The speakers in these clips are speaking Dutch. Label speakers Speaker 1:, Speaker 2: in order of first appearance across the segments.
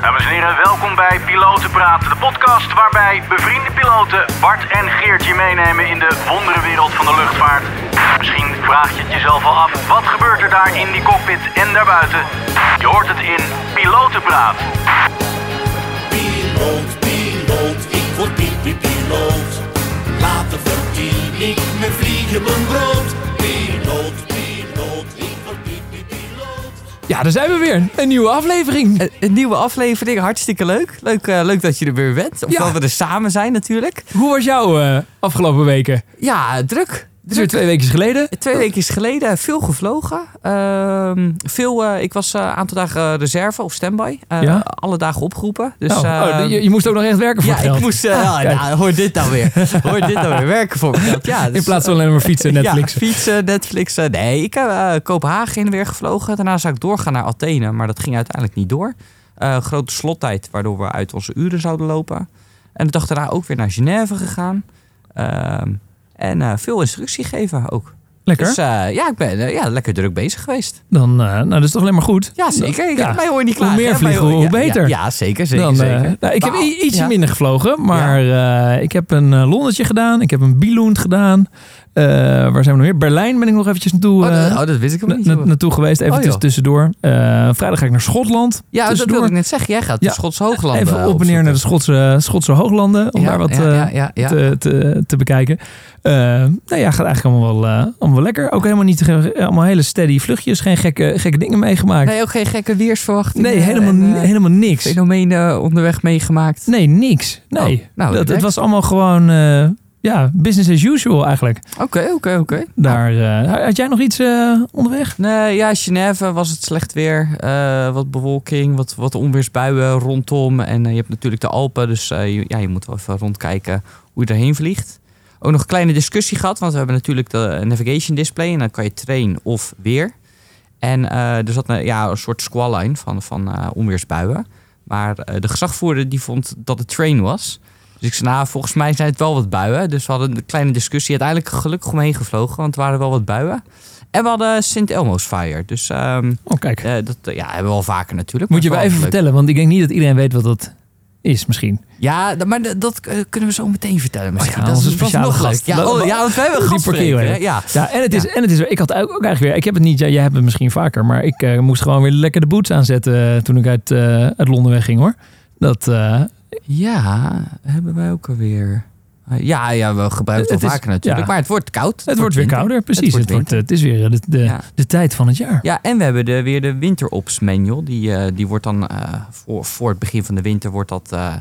Speaker 1: Dames en heren, welkom bij Piloten Praten, de podcast waarbij bevriende piloten Bart en Geertje meenemen in de wonderenwereld van de luchtvaart. Misschien vraag je het jezelf al af, wat gebeurt er daar in die cockpit en daarbuiten? Je hoort het in Piloten Praat.
Speaker 2: Piloot, piloot, ik word piep, piep, piloot. Later verdien ik mijn vliegen mijn brood. Piloot, piloot, ik word piep, piep, piloot.
Speaker 3: Ja, daar zijn we weer. Een nieuwe aflevering.
Speaker 4: Eh, Een, een nieuwe aflevering, hartstikke leuk. Leuk, eh, leuk dat je er weer bent. Of
Speaker 3: Ja.
Speaker 4: dat we er samen zijn natuurlijk.
Speaker 3: Hoe was jouw eh, afgelopen weken?
Speaker 4: Ja, druk.
Speaker 3: Het is weer
Speaker 4: Druk.
Speaker 3: twee weken geleden.
Speaker 4: Twee weken is geleden veel gevlogen. Ehm, veel, eh, ik was eh, een aantal dagen reserve of standby. Eh,
Speaker 3: Ja.
Speaker 4: Alle dagen opgeroepen. Dus,
Speaker 3: Nou, oh,
Speaker 4: ehm,
Speaker 3: je, je moest ook nog echt werken voor
Speaker 4: ja,
Speaker 3: het geld. Ah,
Speaker 4: ik moest. eh, ja,
Speaker 3: kijk.
Speaker 4: nou, hoor dit nou weer. Hoor dit nou weer. Werken voor mijn geld. Ja, dus-
Speaker 3: In plaats van alleen maar fietsen en Netflix.
Speaker 4: Ja, fietsen, Netflix. Nee, ik heb eh, Kopenhagen in weer gevlogen. Daarna zou ik doorgaan naar Athene, maar dat ging uiteindelijk niet door. Eh, grote slottijd, waardoor we uit onze uren zouden lopen. En de dag daarna ook weer naar Genève gegaan. Ehm, en eh, veel instructie geven ook.
Speaker 3: Lekker.
Speaker 4: Dus eh, ja, ik ben eh, ja, lekker druk bezig geweest.
Speaker 3: Dan, eh, nou, dat is toch alleen maar goed.
Speaker 4: Ja, zeker. Ik,
Speaker 3: Ja.
Speaker 4: Mij hoor je niet
Speaker 3: Hoe
Speaker 4: klaar.
Speaker 3: meer vliegen, hoe beter.
Speaker 4: Ja, zeker, zeker,
Speaker 3: Dan, eh,
Speaker 4: zeker.
Speaker 3: nou, ik heb
Speaker 4: Nou,
Speaker 3: i- iets
Speaker 4: ja.
Speaker 3: minder gevlogen, maar eh, ik heb een eh, Lonnetje gedaan. Ik heb een Billund gedaan. Eh, waar zijn we nog meer? Berlijn ben ik nog eventjes naartoe,
Speaker 4: Oh,
Speaker 3: eh,
Speaker 4: dat, oh, dat wist ik
Speaker 3: na-
Speaker 4: hem niet.
Speaker 3: na-
Speaker 4: hoor.
Speaker 3: naartoe geweest. Even
Speaker 4: Oh, joh.
Speaker 3: tussendoor. Eh, vrijdag ga ik naar Schotland.
Speaker 4: ja, dat
Speaker 3: tussendoor.
Speaker 4: wilde ik net zeggen. Jij gaat de
Speaker 3: Ja.
Speaker 4: Schotse Hooglanden
Speaker 3: Even op en neer naar de Schotse, Schotse hooglanden. Om daar wat
Speaker 4: ja,
Speaker 3: eh,
Speaker 4: ja, ja, ja.
Speaker 3: te, te, te bekijken. Eh, nou ja, gaat eigenlijk allemaal wel, eh, allemaal wel lekker. Ook helemaal niet ge- allemaal hele steady vluchtjes. Geen gekke, gekke dingen meegemaakt.
Speaker 4: Nee, ook geen gekke weersverwachtingen.
Speaker 3: Nee, helemaal,
Speaker 4: en,
Speaker 3: ni-
Speaker 4: eh,
Speaker 3: helemaal niks.
Speaker 4: fenomenen onderweg meegemaakt.
Speaker 3: Nee, niks. Nee.
Speaker 4: Oh, nou,
Speaker 3: dat, het
Speaker 4: direct.
Speaker 3: was allemaal gewoon eh, ja, business as usual eigenlijk.
Speaker 4: Oké, oké, oké.
Speaker 3: Daar, eh, had jij nog iets eh, onderweg?
Speaker 4: Nee, ja, Genève was het slecht weer. Eh, wat bewolking, wat, wat onweersbuien rondom. En eh, je hebt natuurlijk de Alpen, dus eh, je, ja, je moet wel even rondkijken hoe je daarheen vliegt. Ook nog een kleine discussie gehad, want we hebben natuurlijk de navigation display. En dan kan je train of weer. En eh, er zat een, ja, een soort squall-line van, van eh, onweersbuien. Maar eh, de gezagvoerder die vond dat het train was. Dus ik zei, nou, volgens mij zijn het wel wat buien. Dus we hadden een kleine discussie. Uiteindelijk gelukkig omheen gevlogen, want er waren wel wat buien. En we hadden Sint Elmo's Fire. Dus ehm,
Speaker 3: Oh, kijk.
Speaker 4: eh, dat eh, ja, hebben we al vaker natuurlijk.
Speaker 3: Moet je wel
Speaker 4: maar
Speaker 3: even
Speaker 4: het is
Speaker 3: vertellen, want ik denk niet dat iedereen weet wat dat is misschien.
Speaker 4: leuk. Ja, d- maar d- dat eh, kunnen we zo meteen vertellen misschien.
Speaker 3: Oh ja,
Speaker 4: dat
Speaker 3: onze
Speaker 4: dat
Speaker 3: speciale
Speaker 4: nog
Speaker 3: gast.
Speaker 4: leuk. Ja,
Speaker 3: Dat-
Speaker 4: oh, ja, want wij hebben een
Speaker 3: Die
Speaker 4: gastspreker,
Speaker 3: parkeren we.
Speaker 4: hè? Ja.
Speaker 3: Ja, en het is, en het is ik had ook, ook eigenlijk weer, ik heb het niet, jij, jij hebt het misschien vaker, maar ik eh, moest gewoon weer lekker de boots aanzetten eh, toen ik uit, eh, uit Londen wegging hoor. Dat, eh,
Speaker 4: ja, hebben wij ook alweer. Eh, ja, ja, we gebruiken het
Speaker 3: Het
Speaker 4: wel
Speaker 3: is-
Speaker 4: vaker natuurlijk.
Speaker 3: ja.
Speaker 4: Maar het wordt koud.
Speaker 3: het wordt weer
Speaker 4: winter.
Speaker 3: kouder, precies.
Speaker 4: wordt
Speaker 3: Het, wordt, eh, het is weer eh, de, de,
Speaker 4: Ja.
Speaker 3: de tijd van het jaar.
Speaker 4: Ja, en we hebben de, weer de winterops manual. Die, eh, die wordt dan eh, voor, voor het begin van de winter wordt dat, eh,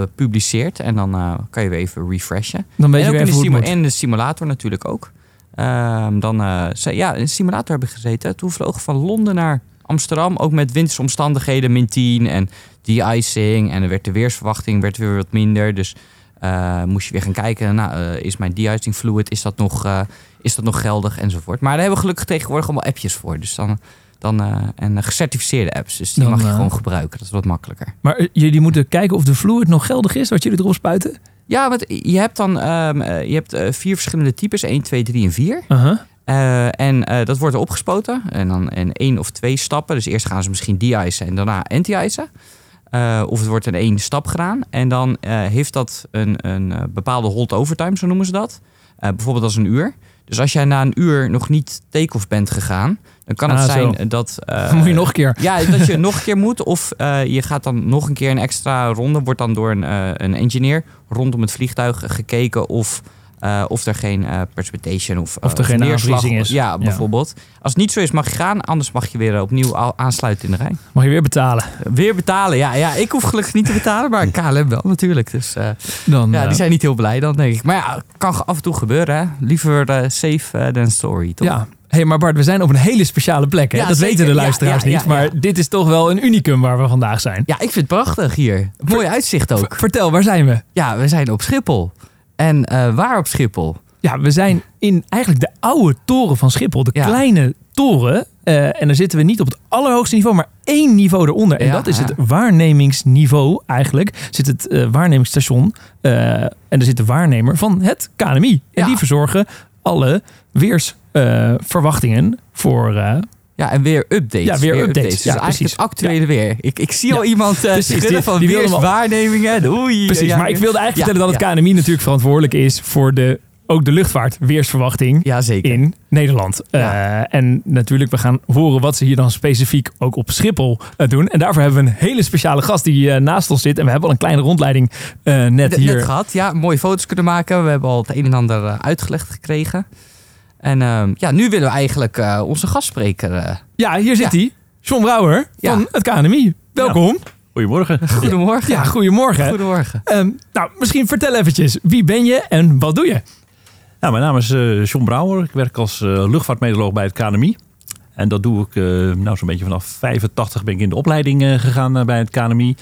Speaker 4: gepubliceerd. En dan eh, kan je weer even refreshen.
Speaker 3: Dan weet je
Speaker 4: en ook
Speaker 3: weer
Speaker 4: in
Speaker 3: even
Speaker 4: de
Speaker 3: hoe het
Speaker 4: simu-
Speaker 3: moet.
Speaker 4: en de simulator natuurlijk ook. Ehm, dan, eh, ze, ja, in de simulator heb ik gezeten. Toen vloog ik van Londen naar Amsterdam. Ook met wintersomstandigheden, min 10 en de-icing. En er werd de weersverwachting werd weer wat minder. Dus eh, moest je weer gaan kijken. Nou, eh, is mijn de-icing fluid, is dat, nog, eh, is dat nog geldig enzovoort. Maar daar hebben we gelukkig tegenwoordig allemaal appjes voor. Dus dan, dan, eh, en eh, gecertificeerde apps. Dus die
Speaker 3: Dan,
Speaker 4: mag je
Speaker 3: eh,
Speaker 4: gewoon gebruiken. Dat is wat makkelijker.
Speaker 3: Maar eh, jullie moeten kijken of de fluid nog geldig is, wat jullie erop spuiten.
Speaker 4: Ja, want je hebt dan ehm, eh, je hebt, eh, vier verschillende types. 1, 2, 3 en 4.
Speaker 3: Uh-huh.
Speaker 4: Eh, en eh, dat wordt opgespoten. En dan in één of twee stappen. Dus eerst gaan ze misschien de-icen en daarna anti-icen. Eh, of het wordt in één stap gedaan. En dan eh, heeft dat een, een eh, bepaalde hold overtime, zo noemen ze dat. Eh, bijvoorbeeld als een uur. Dus als jij na een uur nog niet take-off bent gegaan, dan kan het
Speaker 3: Ah,
Speaker 4: zijn
Speaker 3: zo.
Speaker 4: dat. eh,
Speaker 3: Dan moet je nog een keer.
Speaker 4: ja, dat je nog een keer moet. Of eh, je gaat dan nog een keer een extra ronde. Wordt dan door een, eh, een engineer rondom het vliegtuig gekeken of, eh, of er geen eh, precipitation of,
Speaker 3: Of er
Speaker 4: eh,
Speaker 3: geen
Speaker 4: neerslag-
Speaker 3: aanvriezing is.
Speaker 4: Ja,
Speaker 3: Ja.
Speaker 4: bijvoorbeeld. Als het niet zo is, mag je gaan. Anders mag je weer eh, opnieuw a- aansluiten in de rij.
Speaker 3: Mag je weer betalen.
Speaker 4: Weer betalen. Ja, ja, ik hoef gelukkig niet te betalen. Maar KLM wel natuurlijk. Dus eh,
Speaker 3: Dan,
Speaker 4: ja,
Speaker 3: eh,
Speaker 4: die zijn niet heel blij dan, denk ik. Maar ja, kan af en toe gebeuren. Hè. Liever eh, safe eh, than sorry, toch?
Speaker 3: ja. hey, maar Bart, we zijn op een hele speciale plek. Hè?
Speaker 4: Ja,
Speaker 3: dat
Speaker 4: zeker.
Speaker 3: weten de
Speaker 4: Ja,
Speaker 3: luisteraars
Speaker 4: ja, ja,
Speaker 3: niet, maar
Speaker 4: ja.
Speaker 3: dit is toch wel een unicum waar we vandaag zijn.
Speaker 4: Ja, ik vind het prachtig hier. Mooi uitzicht ook.
Speaker 3: Vertel, waar zijn we?
Speaker 4: Ja, we zijn op Schiphol. En eh, waar op Schiphol?
Speaker 3: Ja, we zijn in eigenlijk de oude toren van Schiphol. De
Speaker 4: Ja.
Speaker 3: kleine toren. Eh, en dan zitten we niet op het allerhoogste niveau, maar één niveau eronder. En
Speaker 4: Ja,
Speaker 3: dat is
Speaker 4: ja.
Speaker 3: het waarnemingsniveau eigenlijk. Zit het eh, waarnemingsstation. eh, en daar zit de waarnemer van het KNMI. En
Speaker 4: Ja.
Speaker 3: die verzorgen alle weersverwachtingen voor, eh,
Speaker 4: Ja, en weer updates.
Speaker 3: Ja, weer updates.
Speaker 4: Dus
Speaker 3: Ja,
Speaker 4: eigenlijk
Speaker 3: precies.
Speaker 4: het actuele weer. Ik, ik zie al iemand eh
Speaker 3: precies.
Speaker 4: schudden
Speaker 3: Die-
Speaker 4: van
Speaker 3: die wilde hem al-
Speaker 4: weerswaarnemingen. Oei.
Speaker 3: Precies,
Speaker 4: ja,
Speaker 3: maar ik wilde eigenlijk
Speaker 4: Ja,
Speaker 3: vertellen dat het KNMI natuurlijk verantwoordelijk is voor de, ook de luchtvaartweersverwachting
Speaker 4: Ja, zeker.
Speaker 3: in Nederland.
Speaker 4: Ja.
Speaker 3: Eh, en natuurlijk, we gaan horen wat ze hier dan specifiek ook op Schiphol eh, doen. En daarvoor hebben we een hele speciale gast die eh, naast ons zit. En we hebben al een kleine rondleiding eh, net
Speaker 4: Net,
Speaker 3: hier.
Speaker 4: net gehad. Ja, mooie foto's kunnen maken. We hebben al het een en ander eh, uitgelegd gekregen. En ehm, ja, nu willen we eigenlijk eh, onze gastspreker. eh,
Speaker 3: ja, hier zit hij. John Brouwer
Speaker 4: Ja.
Speaker 3: van het KNMI. Welkom.
Speaker 5: Goedemorgen.
Speaker 4: goedemorgen.
Speaker 3: Ja, goedemorgen.
Speaker 4: goedemorgen.
Speaker 3: Ehm, nou, misschien vertel eventjes. Wie ben je en wat doe je?
Speaker 5: Nou, mijn naam is eh John Brouwer. Ik werk als eh luchtvaartmeteoroloog bij het KNMI. En dat doe ik eh, nou, zo'n beetje vanaf 85 ben ik in de opleiding eh, gegaan eh, bij het KNMI.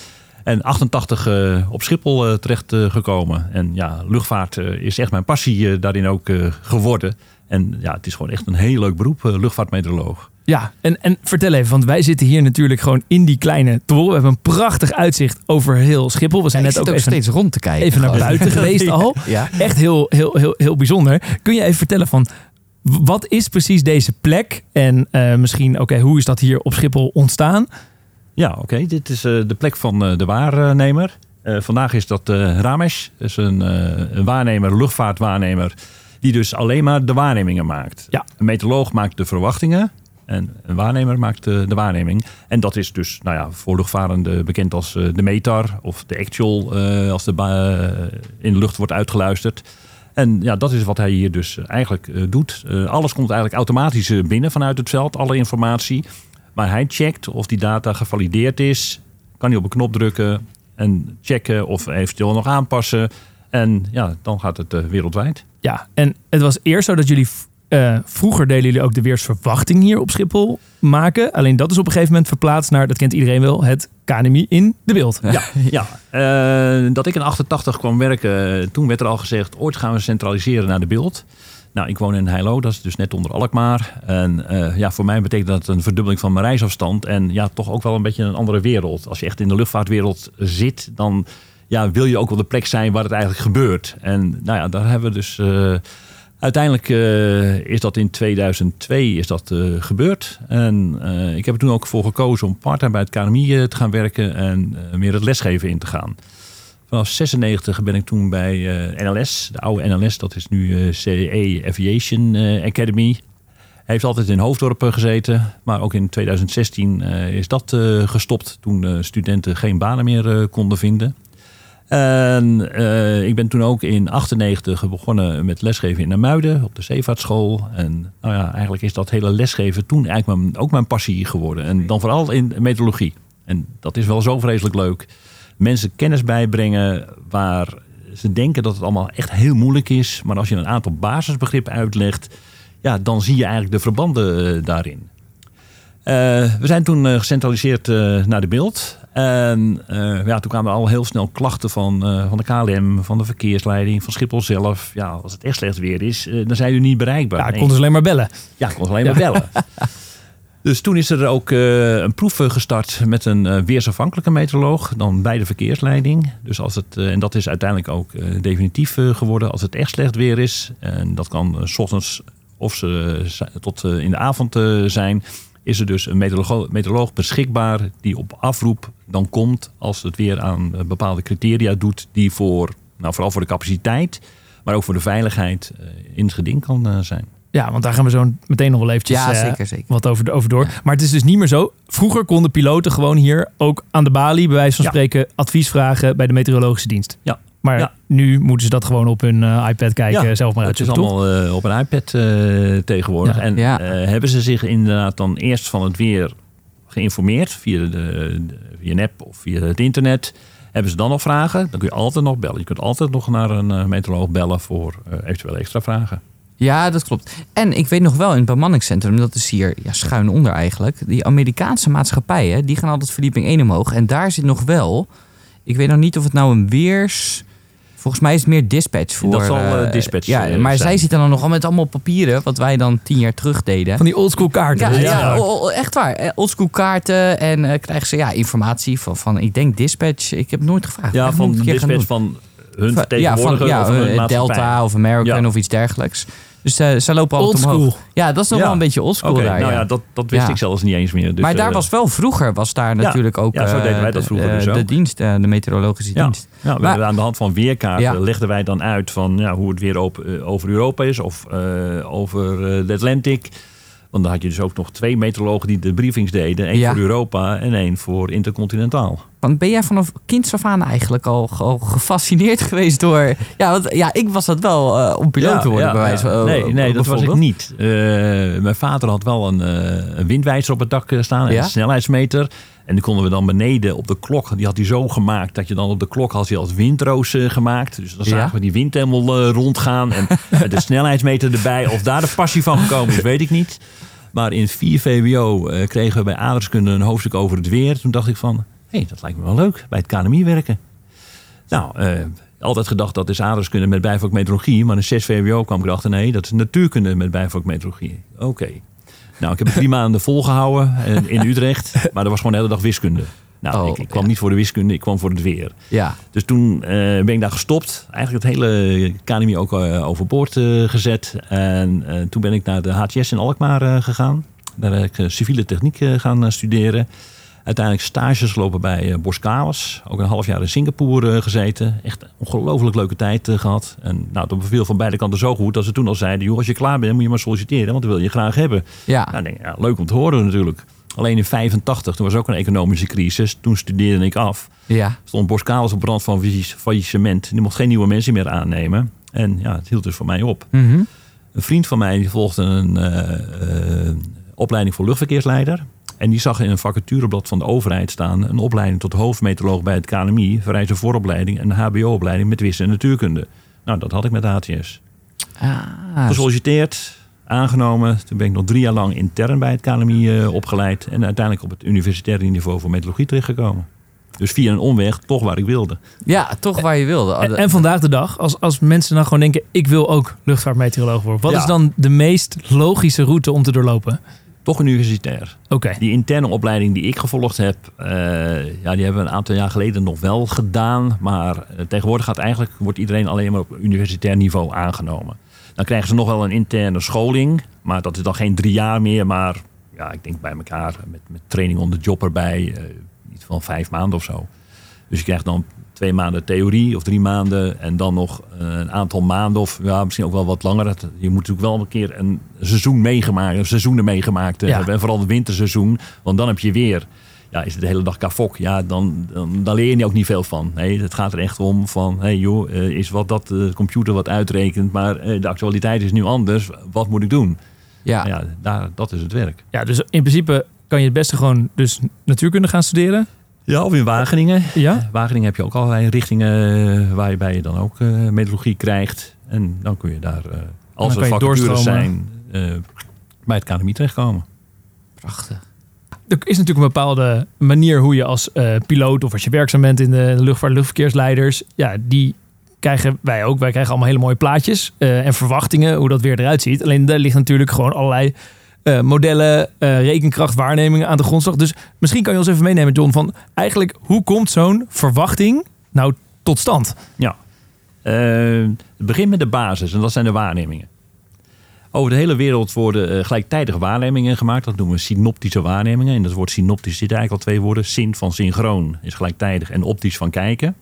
Speaker 5: En 88 eh, op Schiphol terecht terechtgekomen. en ja, luchtvaart eh, is echt mijn passie eh, daarin ook eh, geworden. En ja, het is gewoon echt een heel leuk beroep, eh, luchtvaartmeteoroloog.
Speaker 3: Ja, en, en vertel even, want wij zitten hier natuurlijk gewoon in die kleine toren. We hebben een prachtig uitzicht over heel Schiphol. We zijn
Speaker 4: ik
Speaker 3: net
Speaker 4: zit
Speaker 3: ook
Speaker 4: ook
Speaker 3: even,
Speaker 4: steeds rond te kijken.
Speaker 3: even naar
Speaker 4: gewoon.
Speaker 3: buiten geweest al.
Speaker 4: Ja.
Speaker 3: Echt heel, heel, heel, heel bijzonder. Kun je even vertellen van, w- wat is precies deze plek? En eh, misschien, oké, hoe is dat hier op Schiphol ontstaan?
Speaker 5: Ja, oké. Dit is eh, de plek van eh, de waarnemer. Eh, vandaag is dat eh, Ramesh. Dat is een, eh, een waarnemer, luchtvaartwaarnemer. Die dus alleen maar de waarnemingen maakt.
Speaker 3: Ja.
Speaker 5: Een meteoroloog maakt de verwachtingen. En een waarnemer maakt eh, de waarneming. En dat is dus nou ja, voor luchtvarenden bekend als eh, de METAR. Of de actual eh, als de ba- eh, in de lucht wordt uitgeluisterd. En ja, dat is wat hij hier dus eigenlijk eh, doet. Eh, alles komt eigenlijk automatisch eh, binnen vanuit het veld. Alle informatie. Maar hij checkt of die data gevalideerd is. Kan hij op een knop drukken en checken of eventueel nog aanpassen. En ja, dan gaat het eh, wereldwijd.
Speaker 3: Ja, en het was eerst zo dat jullie... v- eh, vroeger deden jullie ook de weersverwachting hier op Schiphol maken. Alleen dat is op een gegeven moment verplaatst naar, dat kent iedereen wel, het KNMI in de beeld.
Speaker 5: Ja, ja. Eh, dat ik in 88 kwam werken, eh, toen werd er al gezegd... ooit gaan we centraliseren naar de beeld. Nou, ik woon in Heilo, dat is dus net onder Alkmaar. En eh, ja, voor mij betekent dat een verdubbeling van mijn reisafstand. En ja, toch ook wel een beetje een andere wereld. Als je echt in de luchtvaartwereld zit, dan ja, wil je ook wel de plek zijn waar het eigenlijk gebeurt. En nou ja, daar hebben we dus... eh, Uiteindelijk eh, is dat in 2002 is dat, eh, gebeurd. En eh, ik heb er toen ook voor gekozen om part-time bij het KNMI eh, te gaan werken en eh, meer het lesgeven in te gaan. Vanaf 96 ben ik toen bij eh, NLS, de oude NLS, dat is nu eh, CE Aviation eh, Academy. Heeft altijd in Hoofddorp eh, gezeten, maar ook in 2016 eh, is dat eh, gestopt toen eh, studenten geen banen meer eh, konden vinden. En eh, ik ben toen ook in 98 begonnen met lesgeven in Namuiden op de zeevaartschool. En nou ja, eigenlijk is dat hele lesgeven toen eigenlijk mijn, ook mijn passie geworden. En dan vooral in meteorologie. En dat is wel zo vreselijk leuk. Mensen kennis bijbrengen waar ze denken dat het allemaal echt heel moeilijk is. Maar als je een aantal basisbegrippen uitlegt, ja, dan zie je eigenlijk de verbanden eh, daarin. Eh, we zijn toen eh, gecentraliseerd eh, naar de beeld. En eh, ja, toen kwamen er al heel snel klachten van, eh, van de KLM, van de verkeersleiding, van Schiphol zelf. Ja, als het echt slecht weer is, eh, dan zijn jullie niet bereikbaar.
Speaker 3: Ja, ik
Speaker 5: Nee.
Speaker 3: kon dus alleen maar bellen.
Speaker 5: Ja, ik kon alleen maar bellen. Dus toen is er ook eh, een proef eh, gestart met een eh, weersafhankelijke meteoroloog, dan bij de verkeersleiding. Dus als het, eh, en dat is uiteindelijk ook eh, definitief eh, geworden als het echt slecht weer is. En dat kan eh, s ochtends of ze, ze- tot eh, in de avond eh, zijn. Is er dus een meteoroloog, meteoroloog beschikbaar die op afroep dan komt als het weer aan eh, bepaalde criteria doet die voor, nou, vooral voor de capaciteit, maar ook voor de veiligheid eh, in het geding kan eh, zijn.
Speaker 3: Ja, want daar gaan we zo meteen nog wel eventjes
Speaker 4: Ja,
Speaker 3: eh,
Speaker 4: zeker, zeker.
Speaker 3: wat over, over door. Maar het is dus niet meer zo. Vroeger konden piloten gewoon hier ook aan de balie, bij wijze van
Speaker 5: Ja.
Speaker 3: spreken, advies vragen bij de meteorologische dienst.
Speaker 5: Ja.
Speaker 3: Maar
Speaker 5: Ja.
Speaker 3: nu moeten ze dat gewoon op hun eh, iPad kijken,
Speaker 5: Ja,
Speaker 3: zelf maar
Speaker 5: Het is
Speaker 3: uitzoeken. toch?
Speaker 5: allemaal eh, op een iPad eh, tegenwoordig.
Speaker 3: Ja.
Speaker 5: En
Speaker 4: Ja.
Speaker 5: eh, hebben ze zich inderdaad dan eerst van het weer geïnformeerd via, de, de- via een app of via het internet? Hebben ze dan nog vragen? Dan kun je altijd nog bellen. Je kunt altijd nog naar een eh, meteoroloog bellen voor eh, eventuele extra vragen.
Speaker 4: Ja, dat klopt. En ik weet nog wel in het bemanningscentrum, dat is hier ja, schuin onder eigenlijk. Die Amerikaanse maatschappijen, die gaan altijd verdieping 1 omhoog. En daar zit nog wel, ik weet nog niet of het nou een weers... Volgens mij is het meer dispatch voor...
Speaker 5: Dat zal, eh,
Speaker 4: eh,
Speaker 5: dispatch,
Speaker 4: Ja,
Speaker 5: eh,
Speaker 4: maar zij
Speaker 5: zijn.
Speaker 4: zitten dan nog al met allemaal papieren, wat wij dan tien jaar terug deden.
Speaker 3: Van die oldschool kaarten. Dus
Speaker 4: Ja, ja,
Speaker 3: weet je
Speaker 4: ja,
Speaker 3: wel.
Speaker 4: o- o- echt waar. Eh, Oldschool kaarten en eh, krijgen ze ja, informatie van, van, ik denk dispatch. Ik heb nooit gevraagd. Ik
Speaker 5: Ja,
Speaker 4: heb het
Speaker 5: van
Speaker 4: nog een keer gaan doen.
Speaker 5: dispatch van hun
Speaker 4: Va-
Speaker 5: vertegenwoordiger
Speaker 4: ja,
Speaker 5: of
Speaker 4: van, ja,
Speaker 5: hun
Speaker 4: eh,
Speaker 5: maatschappij.
Speaker 4: Delta of American
Speaker 5: Ja.
Speaker 4: of iets dergelijks. Dus eh, zij lopen altijd omhoog.
Speaker 3: Oldschool.
Speaker 4: Ja, dat is nog
Speaker 5: Ja.
Speaker 4: wel een beetje oldschool
Speaker 5: Oké,
Speaker 4: daar.
Speaker 5: nou
Speaker 4: ja.
Speaker 5: ja, dat, dat wist
Speaker 4: Ja.
Speaker 5: ik zelfs niet eens meer. Dus,
Speaker 4: maar daar
Speaker 5: eh,
Speaker 4: was wel vroeger, was daar natuurlijk ook
Speaker 5: Ja, zo
Speaker 4: eh,
Speaker 5: deden wij dat
Speaker 4: de-
Speaker 5: vroeger
Speaker 4: eh,
Speaker 5: dus ook.
Speaker 4: de dienst, eh, de meteorologische
Speaker 5: ja.
Speaker 4: dienst.
Speaker 5: Ja, we
Speaker 4: Maar-
Speaker 5: hebben aan de hand van weerkaarten
Speaker 4: Ja.
Speaker 5: legden wij dan uit van ja, hoe het weer op, eh, over Europa is of eh, over eh, de Atlantic. Want dan had je dus ook nog twee meteorologen die de briefings deden. één
Speaker 4: Ja.
Speaker 5: voor Europa en één voor intercontinentaal.
Speaker 4: Want ben jij vanaf kinds af aan eigenlijk al, al gefascineerd geweest door... Ja, want, ja, ik was dat wel eh, om piloot te worden bij wijze van...
Speaker 5: Nee,
Speaker 4: eh,
Speaker 5: nee dat was ik
Speaker 4: bijvoorbeeld.
Speaker 5: niet. Eh, mijn vader had wel een, eh, een windwijzer op het dak eh, staan en
Speaker 4: Ja?
Speaker 5: een snelheidsmeter. En die konden we dan beneden op de klok. Die had hij zo gemaakt dat je dan op de klok had hij als windroos eh, gemaakt. Dus dan zagen
Speaker 4: Ja?
Speaker 5: we die wind helemaal eh, rondgaan. En met de snelheidsmeter erbij. Of daar de passie van gekomen is, weet ik niet. Maar in 4 VWO eh, kregen we bij aardrijkskunde een hoofdstuk over het weer. Toen dacht ik van, hé, dat lijkt me wel leuk. Bij het KNMI werken. Nou, eh, altijd gedacht dat is aardrijkskunde met bijvak meteorologie. Maar in 6 VWO kwam ik erachter, nee, dat is natuurkunde met bijvak meteorologie. Oké. Nou, ik heb het drie maanden volgehouden eh, in Utrecht. Maar dat was gewoon de hele dag wiskunde. Nou,
Speaker 4: Oh,
Speaker 5: ik, ik kwam
Speaker 4: ja.
Speaker 5: niet voor de wiskunde, ik kwam voor het weer.
Speaker 4: Ja,
Speaker 5: Dus toen eh, ben ik daar gestopt. Eigenlijk het hele KNMI ook eh, overboord eh, gezet. En eh, toen ben ik naar de HTS in Alkmaar eh, gegaan. Daar heb ik eh, civiele techniek eh, gaan eh, studeren. Uiteindelijk stages lopen bij eh, Boskalis. Ook een half jaar in Singapore eh, gezeten. Echt een ongelooflijk leuke tijd eh, gehad. En nou, dat beviel van beide kanten zo goed dat ze toen al zeiden... Joh, als je klaar bent moet je maar solliciteren, want dat wil je graag hebben.
Speaker 4: ja.
Speaker 5: Nou, ik denk, ja, leuk om te horen natuurlijk. Alleen in 85, toen was ook een economische crisis. Toen studeerde ik af
Speaker 4: ja.
Speaker 5: stond Boskalis op brand van faillis- faillissement. Die mocht geen nieuwe mensen meer aannemen. En ja, het hield dus voor mij op.
Speaker 4: Mhm.
Speaker 5: Een vriend van mij die volgde een eh, eh, opleiding voor luchtverkeersleider. En die zag in een vacatureblad van de overheid staan... een opleiding tot hoofdmeteoroloog bij het KNMI... vereist een vooropleiding en een hbo-opleiding met wiskunde en natuurkunde. Nou, dat had ik met de HTS.
Speaker 4: Ah,
Speaker 5: Gesolliciteerd, aangenomen. Toen ben ik nog drie jaar lang intern bij het KNMI eh, opgeleid. En uiteindelijk op het universitaire niveau voor meteorologie terechtgekomen. Dus via een omweg toch waar ik wilde.
Speaker 4: ja, toch waar je wilde. Ah,
Speaker 3: En,
Speaker 4: dat-
Speaker 3: en vandaag de dag, als, als mensen dan gewoon denken... ik wil ook luchtvaartmeteoroloog worden. Wat
Speaker 5: Ja.
Speaker 3: is dan de meest logische route om te doorlopen?
Speaker 5: toch universitair.
Speaker 3: Oké,
Speaker 5: Die interne opleiding die ik gevolgd heb, eh, ja, die hebben we een aantal jaar geleden nog wel gedaan. Maar eh, tegenwoordig gaat eigenlijk, wordt iedereen alleen maar op universitair niveau aangenomen. Dan krijgen ze nog wel een interne scholing, maar dat is dan geen drie jaar meer. Maar ja, ik denk bij elkaar met, met training on the job erbij, eh iets van vijf maanden of zo. Dus je krijgt dan twee maanden theorie of drie maanden en dan nog eh, een aantal maanden of ja, misschien ook wel wat langer. Dat- Je moet natuurlijk wel een keer een seizoen meegemaakt, of seizoenen meegemaakt eh,
Speaker 3: Ja.
Speaker 5: hebben. En vooral het winterseizoen, want dan heb je weer. Ja, is het de hele dag kafok? Ja, dan, dan, dan leer je er ook niet veel van. Nee, het gaat er echt om van, hey joh, eh, is wat dat eh, computer wat uitrekent, maar eh, de actualiteit is nu anders. Wat moet ik doen?
Speaker 4: ja.
Speaker 5: Nou Ja, daar, dat is het werk.
Speaker 3: ja, dus in principe kan je het beste gewoon dus natuurkunde gaan studeren.
Speaker 5: Ja, of in Wageningen. Eh,
Speaker 3: Ja?
Speaker 5: Wageningen heb je ook allerlei richtingen waarbij je dan ook eh meteorologie krijgt. En dan kun je daar, eh, als
Speaker 3: kan
Speaker 5: er
Speaker 3: je
Speaker 5: vacatures
Speaker 3: doorstromen.
Speaker 5: zijn, eh, bij het KNMI terechtkomen.
Speaker 4: Prachtig.
Speaker 3: Er is natuurlijk een bepaalde manier hoe je als eh, piloot... of als je werkzaam bent in de luchtvaart, luchtverkeersleiders... ja, die krijgen wij ook. Wij krijgen allemaal hele mooie plaatjes eh, en verwachtingen... hoe dat weer eruit ziet. Alleen daar ligt natuurlijk gewoon allerlei... eh, modellen, eh, rekenkracht, waarnemingen aan de grondslag. Dus misschien kan je ons even meenemen, John, van eigenlijk hoe komt zo'n verwachting nou tot stand?
Speaker 5: Ja. Eh, het begint met de basis en dat zijn de waarnemingen. Over de hele wereld worden eh, gelijktijdige waarnemingen gemaakt. Dat noemen we synoptische waarnemingen. En dat woord synoptisch zit eigenlijk al twee woorden. Syn van synchroon is gelijktijdig en optisch van kijken.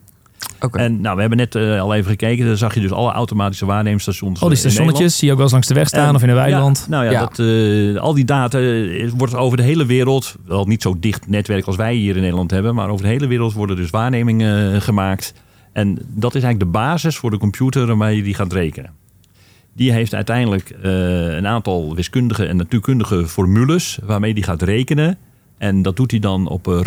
Speaker 4: Oké.
Speaker 5: En nou, we hebben net eh, al even gekeken. Daar zag je dus alle automatische waarnemingsstations.
Speaker 3: Al die
Speaker 5: eh, in Nederland.
Speaker 3: stationnetjes zie je ook wel eens langs de weg staan
Speaker 5: En-
Speaker 3: of in een weiland.
Speaker 5: Ja, nou ja,
Speaker 4: Ja.
Speaker 5: Dat, eh, al die data eh, wordt over de hele wereld, wel niet zo dicht netwerk als wij hier in Nederland hebben, maar over de hele wereld worden dus waarnemingen eh, gemaakt. En dat is eigenlijk de basis voor de computer waarmee je die gaat rekenen. Die heeft uiteindelijk eh, een aantal wiskundige en natuurkundige formules waarmee die gaat rekenen. En dat doet hij dan op eh,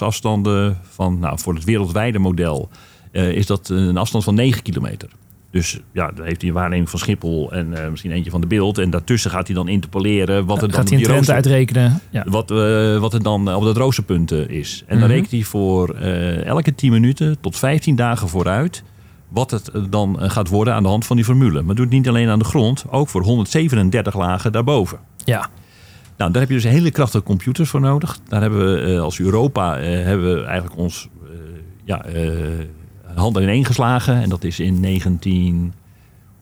Speaker 5: roosterpuntsafstanden van, nou, voor het wereldwijde model eh, is dat een afstand van 9 kilometer. Dus ja, dan heeft hij een waarneming van Schiphol en eh, misschien eentje van de beeld. En daartussen gaat hij dan interpoleren wat er dan
Speaker 3: gaat
Speaker 5: op
Speaker 3: hij een
Speaker 5: die
Speaker 3: trend
Speaker 5: rooster-
Speaker 3: uitrekenen. Ja.
Speaker 5: wat, eh, wat er dan op dat roosterpunt eh, is. En dan
Speaker 4: Mhm.
Speaker 5: rekent hij voor eh, elke 10 minuten tot 15 dagen vooruit. Wat het eh, dan eh, gaat worden aan de hand van die formule. Maar doet niet alleen aan de grond, ook voor 137 lagen daarboven.
Speaker 3: Ja.
Speaker 5: Nou, daar heb je dus hele krachtige computers voor nodig. Daar hebben we eh, als Europa eh, hebben we eigenlijk ons eh, ja, eh, handen ineen geslagen. En dat is in 19...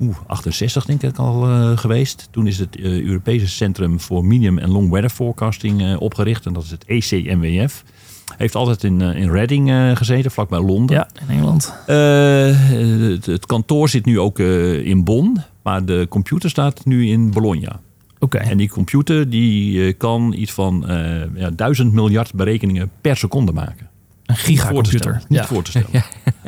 Speaker 5: oeh, 68 denk ik al eh, geweest. Toen is het eh, Europese Centrum voor Medium en Long Weather Forecasting eh, opgericht. En dat is het ECMWF. Heeft altijd in, eh, in Reading eh, gezeten, vlakbij Londen.
Speaker 3: Ja, in Engeland.
Speaker 5: Eh, het, het kantoor zit nu ook eh, in Bonn. Maar de computer staat nu in Bologna.
Speaker 3: Oké.
Speaker 5: En die computer die eh, kan iets van eh ja, duizend miljard berekeningen per seconde maken.
Speaker 3: Een
Speaker 5: Voor te stellen.
Speaker 3: gigacomputer.
Speaker 5: Niet
Speaker 3: Ja.
Speaker 5: voor te stellen.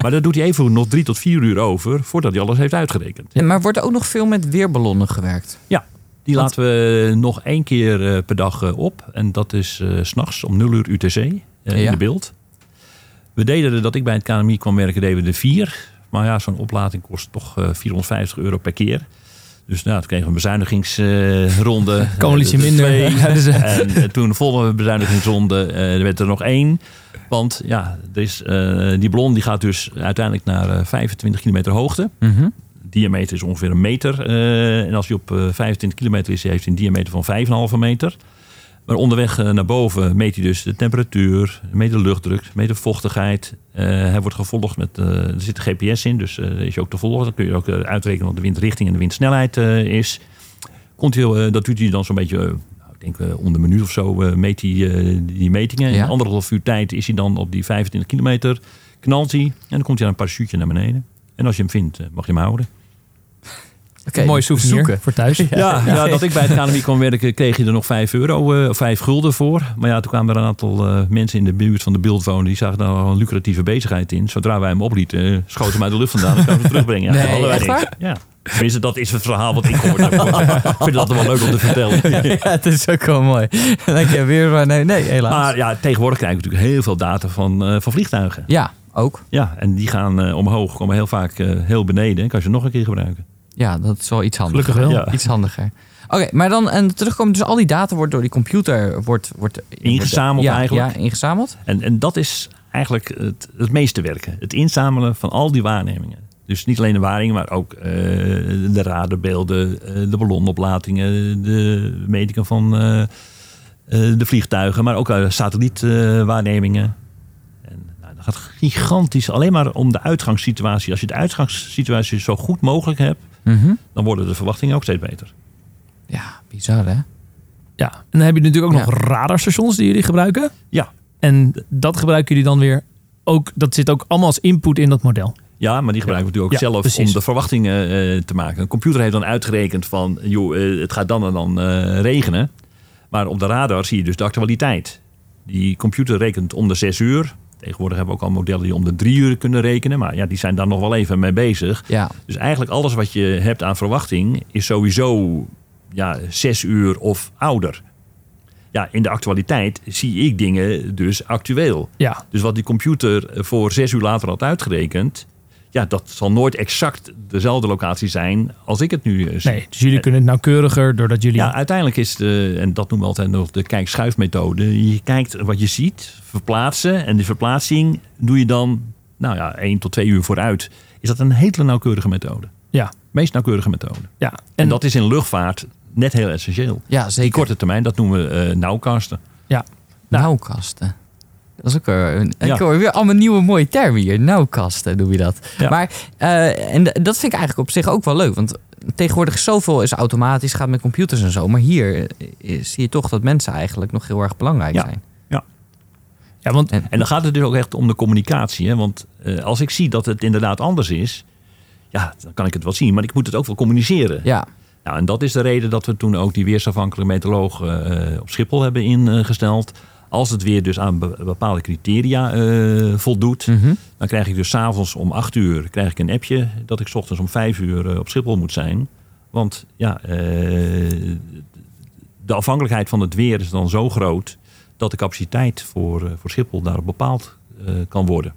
Speaker 5: Maar daar doet hij even nog drie tot vier uur over voordat hij alles heeft uitgerekend.
Speaker 4: En maar wordt er ook nog veel met weerballonnen gewerkt?
Speaker 5: Ja, die laten we nog één keer eh, per dag eh, op. En dat is eh, s s'nachts om 0 uur UTC eh, in
Speaker 4: Ja.
Speaker 5: de beeld. We deden er dat ik bij het KNMI kwam werken, deden we er vier. Maar ja, zo'n oplading kost toch eh, 450 euro per keer. Dus nou, toen kregen we een bezuinigingsronde.
Speaker 3: Coalitie minder. Ja, dus, eh,
Speaker 5: En eh, toen de volgende bezuinigingsronde eh, er werd er nog één. Want ja, er is, eh, die ballon die gaat dus uiteindelijk naar eh, 25 kilometer hoogte.
Speaker 3: Mhm.
Speaker 5: Diameter is ongeveer een meter. eh, en als hij op eh, 25 kilometer is, heeft hij een diameter van 5,5 meter. Maar onderweg eh, naar boven meet hij dus de temperatuur, meet de luchtdruk, meet de vochtigheid. Eh, hij wordt gevolgd met, eh, er zit een GPS in, dus eh, is je ook te volgen. Dan kun je ook eh, uitrekenen wat de windrichting en de windsnelheid eh, is. Continu, eh, dat doet hij dan zo'n beetje, eh, nou, ik denk eh, om de minuut of zo, eh, meet hij eh, die metingen.
Speaker 4: Ja.
Speaker 5: In anderhalf uur tijd is hij dan op die 25 kilometer, knalt hij en dan komt hij aan een parachute naar beneden. En als je hem vindt, eh, mag je hem houden.
Speaker 4: Oké,
Speaker 3: Een mooi souvenir voor thuis.
Speaker 5: Ja, ja, dat ik bij het KNMI kwam werken, kreeg je er nog 5 euro, eh, of 5 gulden voor. Maar ja, toen kwamen er een aantal eh, mensen in de buurt van de beeld wonen. Die zagen daar al een lucratieve bezigheid in. Zodra wij hem oplieten, eh, schoten hem uit de lucht vandaan en kwamen ze terugbrengen. Ja,
Speaker 4: Nee,
Speaker 5: dat hadden wij
Speaker 4: echt
Speaker 5: niet.
Speaker 4: waar?
Speaker 5: Ja. Tenminste, dat is het verhaal wat ik hoorde. ik vind dat wel leuk om te vertellen.
Speaker 4: Ja, het is ook wel mooi. Dan denk je weer, maar nee, nee helaas.
Speaker 5: Maar ja, tegenwoordig krijg ik natuurlijk heel veel data van, eh, van vliegtuigen.
Speaker 4: ja, ook.
Speaker 5: Ja, en die gaan eh, omhoog, komen heel vaak eh, heel beneden. Kan je ze nog een keer gebruiken.
Speaker 4: Ja, dat is wel iets handiger.
Speaker 3: Gelukkig wel.
Speaker 5: Ja.
Speaker 4: Iets handiger. Oké, maar dan en terugkomen. Dus al die data wordt door die computer wordt, wordt,
Speaker 5: Ingezameld
Speaker 4: ja,
Speaker 5: eigenlijk.
Speaker 4: Ja, ingezameld.
Speaker 5: En, en dat is eigenlijk het, het meeste werken. Het inzamelen van al die waarnemingen. Dus niet alleen de waarnemingen, maar ook eh, de radarbeelden, eh, de ballonoplatingen, de metingen van eh, eh, de vliegtuigen, maar ook eh, satellietwaarnemingen. en nou, dat gaat gigantisch alleen maar om de uitgangssituatie. Als je de uitgangssituatie zo goed mogelijk hebt,
Speaker 4: Mhm.
Speaker 5: dan worden de verwachtingen ook steeds beter.
Speaker 4: Ja, bizar
Speaker 5: Nou.
Speaker 4: hè?
Speaker 3: Ja. En dan heb je natuurlijk ook
Speaker 4: Ja.
Speaker 3: nog radarstations die jullie gebruiken.
Speaker 5: Ja.
Speaker 3: En dat gebruiken jullie dan weer ook. Dat zit ook allemaal als input in dat model.
Speaker 5: Ja, maar die gebruiken we natuurlijk
Speaker 3: Ja,
Speaker 5: ook zelf
Speaker 3: precies.
Speaker 5: om de verwachtingen eh, te maken. Een computer heeft dan uitgerekend van, joh, eh, het gaat dan en dan eh, regenen. Maar op de radar zie je dus de actualiteit. Die computer rekent om de zes uur. Tegenwoordig hebben we ook al modellen die om de drie uur kunnen rekenen. Maar ja, die zijn daar nog wel even mee bezig.
Speaker 4: Ja.
Speaker 5: Dus eigenlijk alles wat je hebt aan verwachting is sowieso ja, zes uur of ouder. Ja, in de actualiteit zie ik dingen dus actueel.
Speaker 3: Ja.
Speaker 5: Dus wat die computer voor zes uur later had uitgerekend. Ja, dat zal nooit exact dezelfde locatie zijn als ik het nu eh, zie.
Speaker 3: Nee, dus jullie kunnen het nauwkeuriger doordat jullie.
Speaker 5: Ja, uiteindelijk is de, en dat noemen we altijd nog de kijk-schuifmethode. Je kijkt wat je ziet, verplaatsen. En die verplaatsing doe je dan, nou ja, één tot twee uur vooruit. Is dat een hele nauwkeurige methode?
Speaker 3: ja.
Speaker 5: Meest nauwkeurige methode.
Speaker 3: ja.
Speaker 5: En dat is in luchtvaart net heel essentieel.
Speaker 4: Ja,
Speaker 5: Die
Speaker 4: zeker.
Speaker 5: korte termijn, dat noemen we eh nauwkasten.
Speaker 3: Ja.
Speaker 4: Nauwkasten. Dat is ook weer een,
Speaker 5: Ja.
Speaker 4: ik hoor weer allemaal nieuwe mooie termen hier. Nauwkasten noem je dat.
Speaker 5: Ja.
Speaker 4: Maar, eh, en d- dat vind ik eigenlijk op zich ook wel leuk. Want tegenwoordig zoveel is automatisch, gaat met computers en zo. Maar hier eh, eh, zie je toch dat mensen eigenlijk nog heel erg belangrijk
Speaker 5: Ja.
Speaker 4: zijn.
Speaker 3: Ja, want
Speaker 4: En,
Speaker 5: En dan gaat het dus ook echt om de communicatie. Hè? Want eh, als ik zie dat het inderdaad anders is, ja, dan kan ik het wel zien. Maar ik moet het ook wel communiceren.
Speaker 4: ja,
Speaker 5: Nou, en dat is de reden dat we toen ook die weersafhankelijke meteoroloog eh, op Schiphol hebben ingesteld. Als het weer dus aan be- bepaalde criteria eh, voldoet, dan krijg ik dus s'avonds om 8 uur krijg ik een appje dat ik 's ochtends om 5 uur eh, op Schiphol moet zijn. Want ja, eh, de afhankelijkheid van het weer is dan zo groot dat de capaciteit voor, eh, voor Schiphol daarop bepaald eh, kan worden.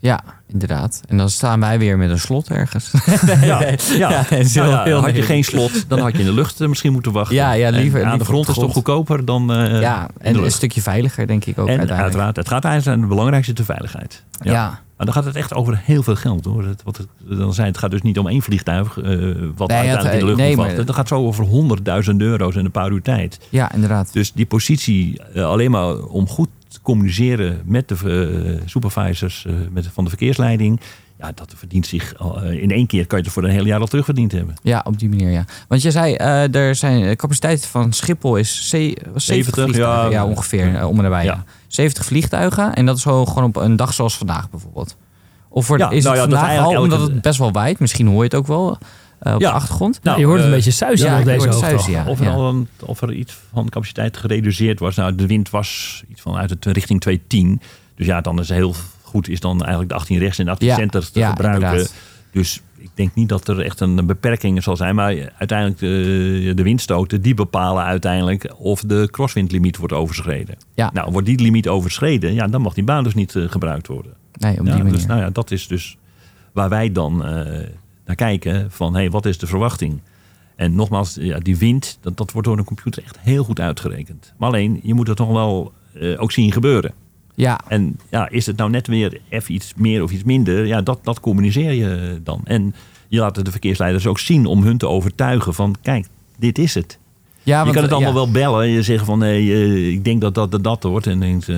Speaker 4: ja, inderdaad. En dan staan wij weer met een slot ergens.
Speaker 5: Ja, ja.
Speaker 4: Ja, dat is heel-
Speaker 5: Nou ja,
Speaker 4: heel
Speaker 5: had je
Speaker 4: lelijk.
Speaker 5: geen slot, dan had je in de lucht eh, misschien moeten wachten.
Speaker 4: Ja, ja,
Speaker 5: En
Speaker 4: liever- liever
Speaker 5: aan
Speaker 4: op
Speaker 5: de
Speaker 4: de
Speaker 5: grond is toch
Speaker 4: grond.
Speaker 5: goedkoper dan eh,
Speaker 4: ja,
Speaker 5: in
Speaker 4: en
Speaker 5: de
Speaker 4: een
Speaker 5: lucht.
Speaker 4: stukje veiliger denk ik ook
Speaker 5: En
Speaker 4: uiteindelijk.
Speaker 5: uiteraard, het gaat eigenlijk aan het belangrijkste de veiligheid.
Speaker 4: Ja.
Speaker 5: Maar dan gaat het echt over heel veel geld hoor. Het, wat ik dan zei, het gaat dus niet om één vliegtuig eh, wat
Speaker 4: Nee,
Speaker 5: uiteindelijk
Speaker 4: het,
Speaker 5: in de lucht
Speaker 4: eh, nee,
Speaker 5: nee,
Speaker 4: maar-
Speaker 5: Dat gaat zo over honderdduizend euro's in een paar uur tijd.
Speaker 4: ja, inderdaad.
Speaker 5: Dus die positie eh, alleen maar om goed te communiceren met de eh, supervisors eh, met, van de verkeersleiding. Ja, dat verdient zich al, eh, in één keer kan je het voor een heel jaar al terugverdiend hebben.
Speaker 4: Ja, op die manier, ja. Want je zei, eh, er zijn, de capaciteit van Schiphol is ze- was 70,
Speaker 5: 70,
Speaker 4: vliegtuigen.
Speaker 5: ja.
Speaker 4: Ja, ongeveer, eh, om en nabij.
Speaker 5: Ja.
Speaker 4: ja. 70 vliegtuigen en dat is zo gewoon op een dag zoals vandaag bijvoorbeeld. Of wordt-
Speaker 5: Ja,
Speaker 4: is
Speaker 5: nou ja,
Speaker 4: het
Speaker 5: dat
Speaker 4: vandaag al,
Speaker 5: eigenlijk
Speaker 4: omdat
Speaker 5: elke-
Speaker 4: het best wel waait. Misschien hoor je het ook wel eh, op
Speaker 5: Ja.
Speaker 4: de achtergrond.
Speaker 5: Nou,
Speaker 3: je hoort het
Speaker 5: eh,
Speaker 3: een beetje suizen
Speaker 4: ja,
Speaker 3: op
Speaker 4: ik
Speaker 3: deze
Speaker 4: hoor het
Speaker 3: hoogte.
Speaker 4: suizen, ja.
Speaker 5: Of, er al een- of er iets van de capaciteit gereduceerd was. Nou, de wind was iets vanuit de tw- richting 210. Dus ja, dan is heel goed is dan eigenlijk de 18 rechts en de 18
Speaker 4: Ja,
Speaker 5: center te
Speaker 4: ja,
Speaker 5: gebruiken.
Speaker 4: inderdaad.
Speaker 5: Dus ik denk niet dat er echt een beperking zal zijn. Maar uiteindelijk eh, de, de windstoten, die bepalen uiteindelijk of de crosswindlimiet wordt overschreden.
Speaker 4: Ja.
Speaker 5: Nou, wordt die limiet overschreden, ja, dan mag die baan dus niet eh, gebruikt worden.
Speaker 4: Nee, op
Speaker 5: Ja,
Speaker 4: die manier.
Speaker 5: dus, nou ja, dat is dus waar wij dan eh, naar kijken van hey, wat is de verwachting? En nogmaals, ja, die wind, dat, dat wordt door een computer echt heel goed uitgerekend. Maar alleen, je moet dat toch wel eh, ook zien gebeuren.
Speaker 4: Ja,
Speaker 5: En ja, is het nou net weer even iets meer of iets minder? Ja, dat, dat communiceer je dan. En je laat het de verkeersleiders ook zien om hun te overtuigen van kijk, dit is het.
Speaker 4: ja
Speaker 5: je
Speaker 4: want,
Speaker 5: kan het
Speaker 4: eh,
Speaker 5: allemaal
Speaker 4: ja.
Speaker 5: wel bellen en je zegt van nee, eh, ik denk dat dat dat, dat wordt. En, denkt, eh,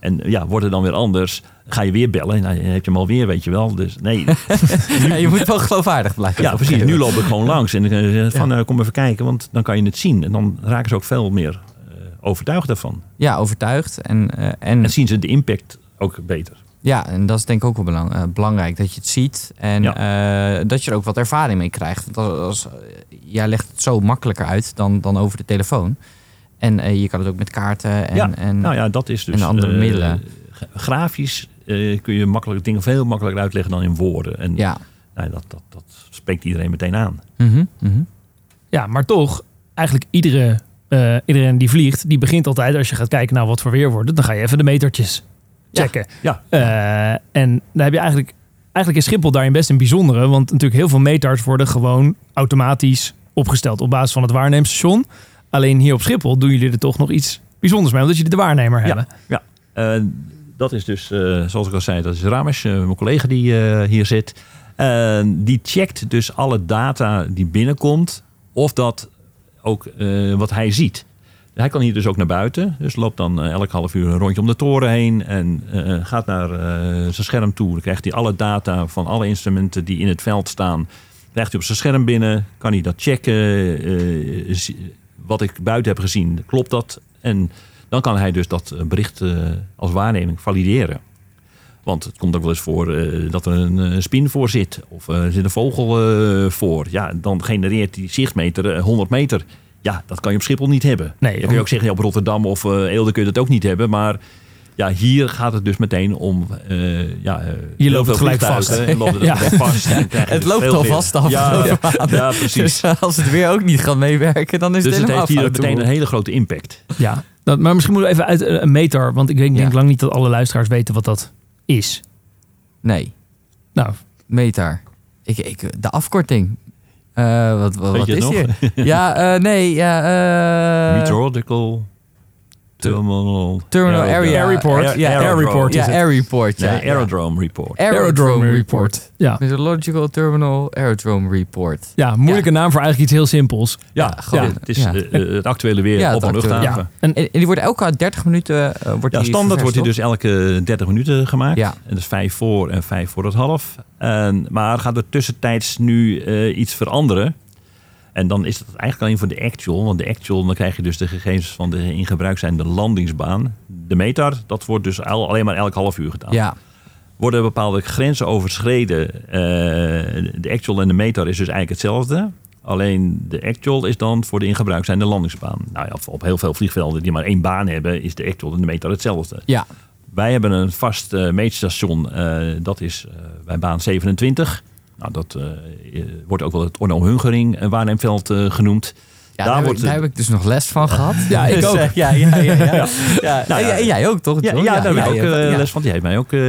Speaker 5: en ja, wordt het dan weer anders? Ga je weer bellen? Nou, dan heb je hem alweer, weet je wel. Dus nee,
Speaker 4: Ja, je moet wel geloofwaardig blijven.
Speaker 5: ja, precies. Nu loop ik gewoon langs en dan kan je zeggen van eh, kom even kijken, want dan kan je het zien. En dan raken ze ook veel meer eh, overtuigd daarvan.
Speaker 4: Ja, overtuigd. En, eh, en,
Speaker 5: En zien ze de impact ook beter.
Speaker 4: ja, en dat is denk ik ook wel belang- eh, belangrijk. Dat je het ziet en eh, dat je er ook wat ervaring mee krijgt. Want als, als, eh, jij legt het zo makkelijker uit dan, dan over de telefoon. En eh, je kan het ook met kaarten en,
Speaker 5: ja,
Speaker 4: en
Speaker 5: nou ja, dat is dus.
Speaker 4: en andere
Speaker 5: eh,
Speaker 4: middelen.
Speaker 5: g- Grafisch eh, kun je makkelijk dingen veel makkelijker uitleggen dan in woorden. En
Speaker 4: Ja.
Speaker 5: nou, dat, dat, dat spreekt iedereen meteen aan.
Speaker 4: Mhm, mhm.
Speaker 3: Ja, maar toch, eigenlijk iedere, eh, iedereen die vliegt, die begint altijd als je gaat kijken naar wat voor weer wordt. het, Dan ga je even de metertjes
Speaker 4: Ja.
Speaker 3: checken.
Speaker 5: Ja.
Speaker 3: Eh, en dan heb je eigenlijk, eigenlijk is Schiphol daarin best een bijzondere. Want natuurlijk heel veel meters worden gewoon automatisch opgesteld op basis van het waarneemstation. Alleen hier op Schiphol doen jullie er toch nog iets bijzonders mee, omdat jullie de waarnemer hebben.
Speaker 5: Ja, eh, dat is dus, eh, zoals ik al zei, dat is Ramesh, eh, mijn collega die eh, hier zit. Eh, die checkt dus alle data die binnenkomt, of dat ook eh, wat hij ziet. Hij kan hier dus ook naar buiten. Dus loopt dan eh, elk half uur een rondje om de toren heen. En eh, gaat naar eh, zijn scherm toe. Dan krijgt hij alle data van alle instrumenten die in het veld staan. Krijgt hij op zijn scherm binnen. Kan hij dat checken. eh, zie- wat ik buiten heb gezien, klopt dat? En dan kan hij dus dat eh, bericht eh, als waarneming valideren. Want het komt ook wel eens voor eh, dat er een eh, spin voor zit. Of eh, er zit een vogel eh, voor. Ja, dan genereert die zichtmeter eh, 100 meter. Ja, dat kan je op Schiphol niet hebben.
Speaker 3: Nee,
Speaker 5: je kan je ook zeggen, ja, op Rotterdam of eh Eelde kun je dat ook niet hebben. Maar ja, hier gaat het dus meteen om... eh ja, eh, heel
Speaker 3: loopt het
Speaker 5: veel
Speaker 3: gelijk
Speaker 5: vliegtuigen.
Speaker 3: vast.
Speaker 5: En loopt het
Speaker 3: Ja.
Speaker 5: gelijk vast. En dan krijg je
Speaker 4: Het
Speaker 5: dus
Speaker 4: loopt
Speaker 5: veel
Speaker 4: al
Speaker 5: weer.
Speaker 4: vast de afgelopen
Speaker 5: Ja, ja, precies.
Speaker 4: Dus als het weer ook niet gaat meewerken, dan is
Speaker 5: Dus
Speaker 4: het
Speaker 5: het
Speaker 4: helemaal
Speaker 5: heeft hier
Speaker 4: fout.
Speaker 5: meteen een hele grote impact.
Speaker 3: Ja, dat, maar misschien moeten we even uit eh, een meter, want ik denk, denk
Speaker 4: Ja.
Speaker 3: lang niet dat alle luisteraars weten wat dat is.
Speaker 4: Nee,
Speaker 3: Nou,
Speaker 4: meter. Ik, ik, de afkorting. Eh, wat wat,
Speaker 5: Weet
Speaker 4: wat
Speaker 5: je
Speaker 4: is
Speaker 5: het nog?
Speaker 4: hier? Ja, eh, nee. Ja, eh,
Speaker 5: Meteorological Terminal...
Speaker 4: Terminal Area
Speaker 5: Aerodrome.
Speaker 4: Report.
Speaker 5: Aer-
Speaker 4: Ja,
Speaker 5: aerodrome.
Speaker 3: Air Report
Speaker 4: ja,
Speaker 3: is het.
Speaker 4: Air Report. Ja,
Speaker 5: Nee, Aerodrome Report.
Speaker 4: Aerodrome Report.
Speaker 3: Ja,
Speaker 4: Meteorological Terminal Aerodrome Report.
Speaker 3: ja moeilijke naam voor eigenlijk iets heel simpels.
Speaker 5: Ja,
Speaker 4: gewoon-
Speaker 5: ja, het is
Speaker 4: ja.
Speaker 5: eh, eh, het actuele weer
Speaker 4: Ja,
Speaker 5: op een
Speaker 4: het actuele-
Speaker 5: luchthaven.
Speaker 3: Ja,
Speaker 5: Ja.
Speaker 3: en
Speaker 4: En, en die wordt elke 30 minuten eh, wordt die
Speaker 5: standaard wordt
Speaker 4: ververst,
Speaker 5: hij
Speaker 4: toch?
Speaker 5: dus elke 30 minuten gemaakt.
Speaker 4: Ja.
Speaker 5: En dat is vijf voor en vijf voor het half. En, maar gaat er tussentijds nu eh, iets veranderen? En dan is dat eigenlijk alleen voor de actual. Want de actual, dan krijg je dus de gegevens van de in gebruik zijnde landingsbaan. De meter, dat wordt dus al- alleen maar elk half uur gedaan.
Speaker 4: Ja,
Speaker 5: worden bepaalde grenzen overschreden. Eh, de actual en de meter is dus eigenlijk hetzelfde. Alleen de actual is dan voor de in gebruik zijnde landingsbaan. Nou ja, op heel veel vliegvelden die maar één baan hebben, is de actual en de meter hetzelfde.
Speaker 4: ja.
Speaker 5: Wij hebben een vast eh, meetstation, eh, dat is eh, bij baan 27. Nou, dat eh, eh, wordt ook wel het Orno-Hungering eh, waarnemveld eh, genoemd.
Speaker 4: Ja, daar, heb,
Speaker 5: wordt
Speaker 4: ik- daar
Speaker 5: het-
Speaker 4: heb ik dus nog les van gehad. Ja,
Speaker 5: ik ook.
Speaker 4: ja, ja, ja, ja. ja.
Speaker 5: Nou ja.
Speaker 4: En jij ook, toch?
Speaker 5: Ja,
Speaker 4: John?
Speaker 5: ja, daar heb ik ook
Speaker 4: jij hebt-
Speaker 5: eh,
Speaker 4: ja.
Speaker 5: les van. Die heeft mij ook eh,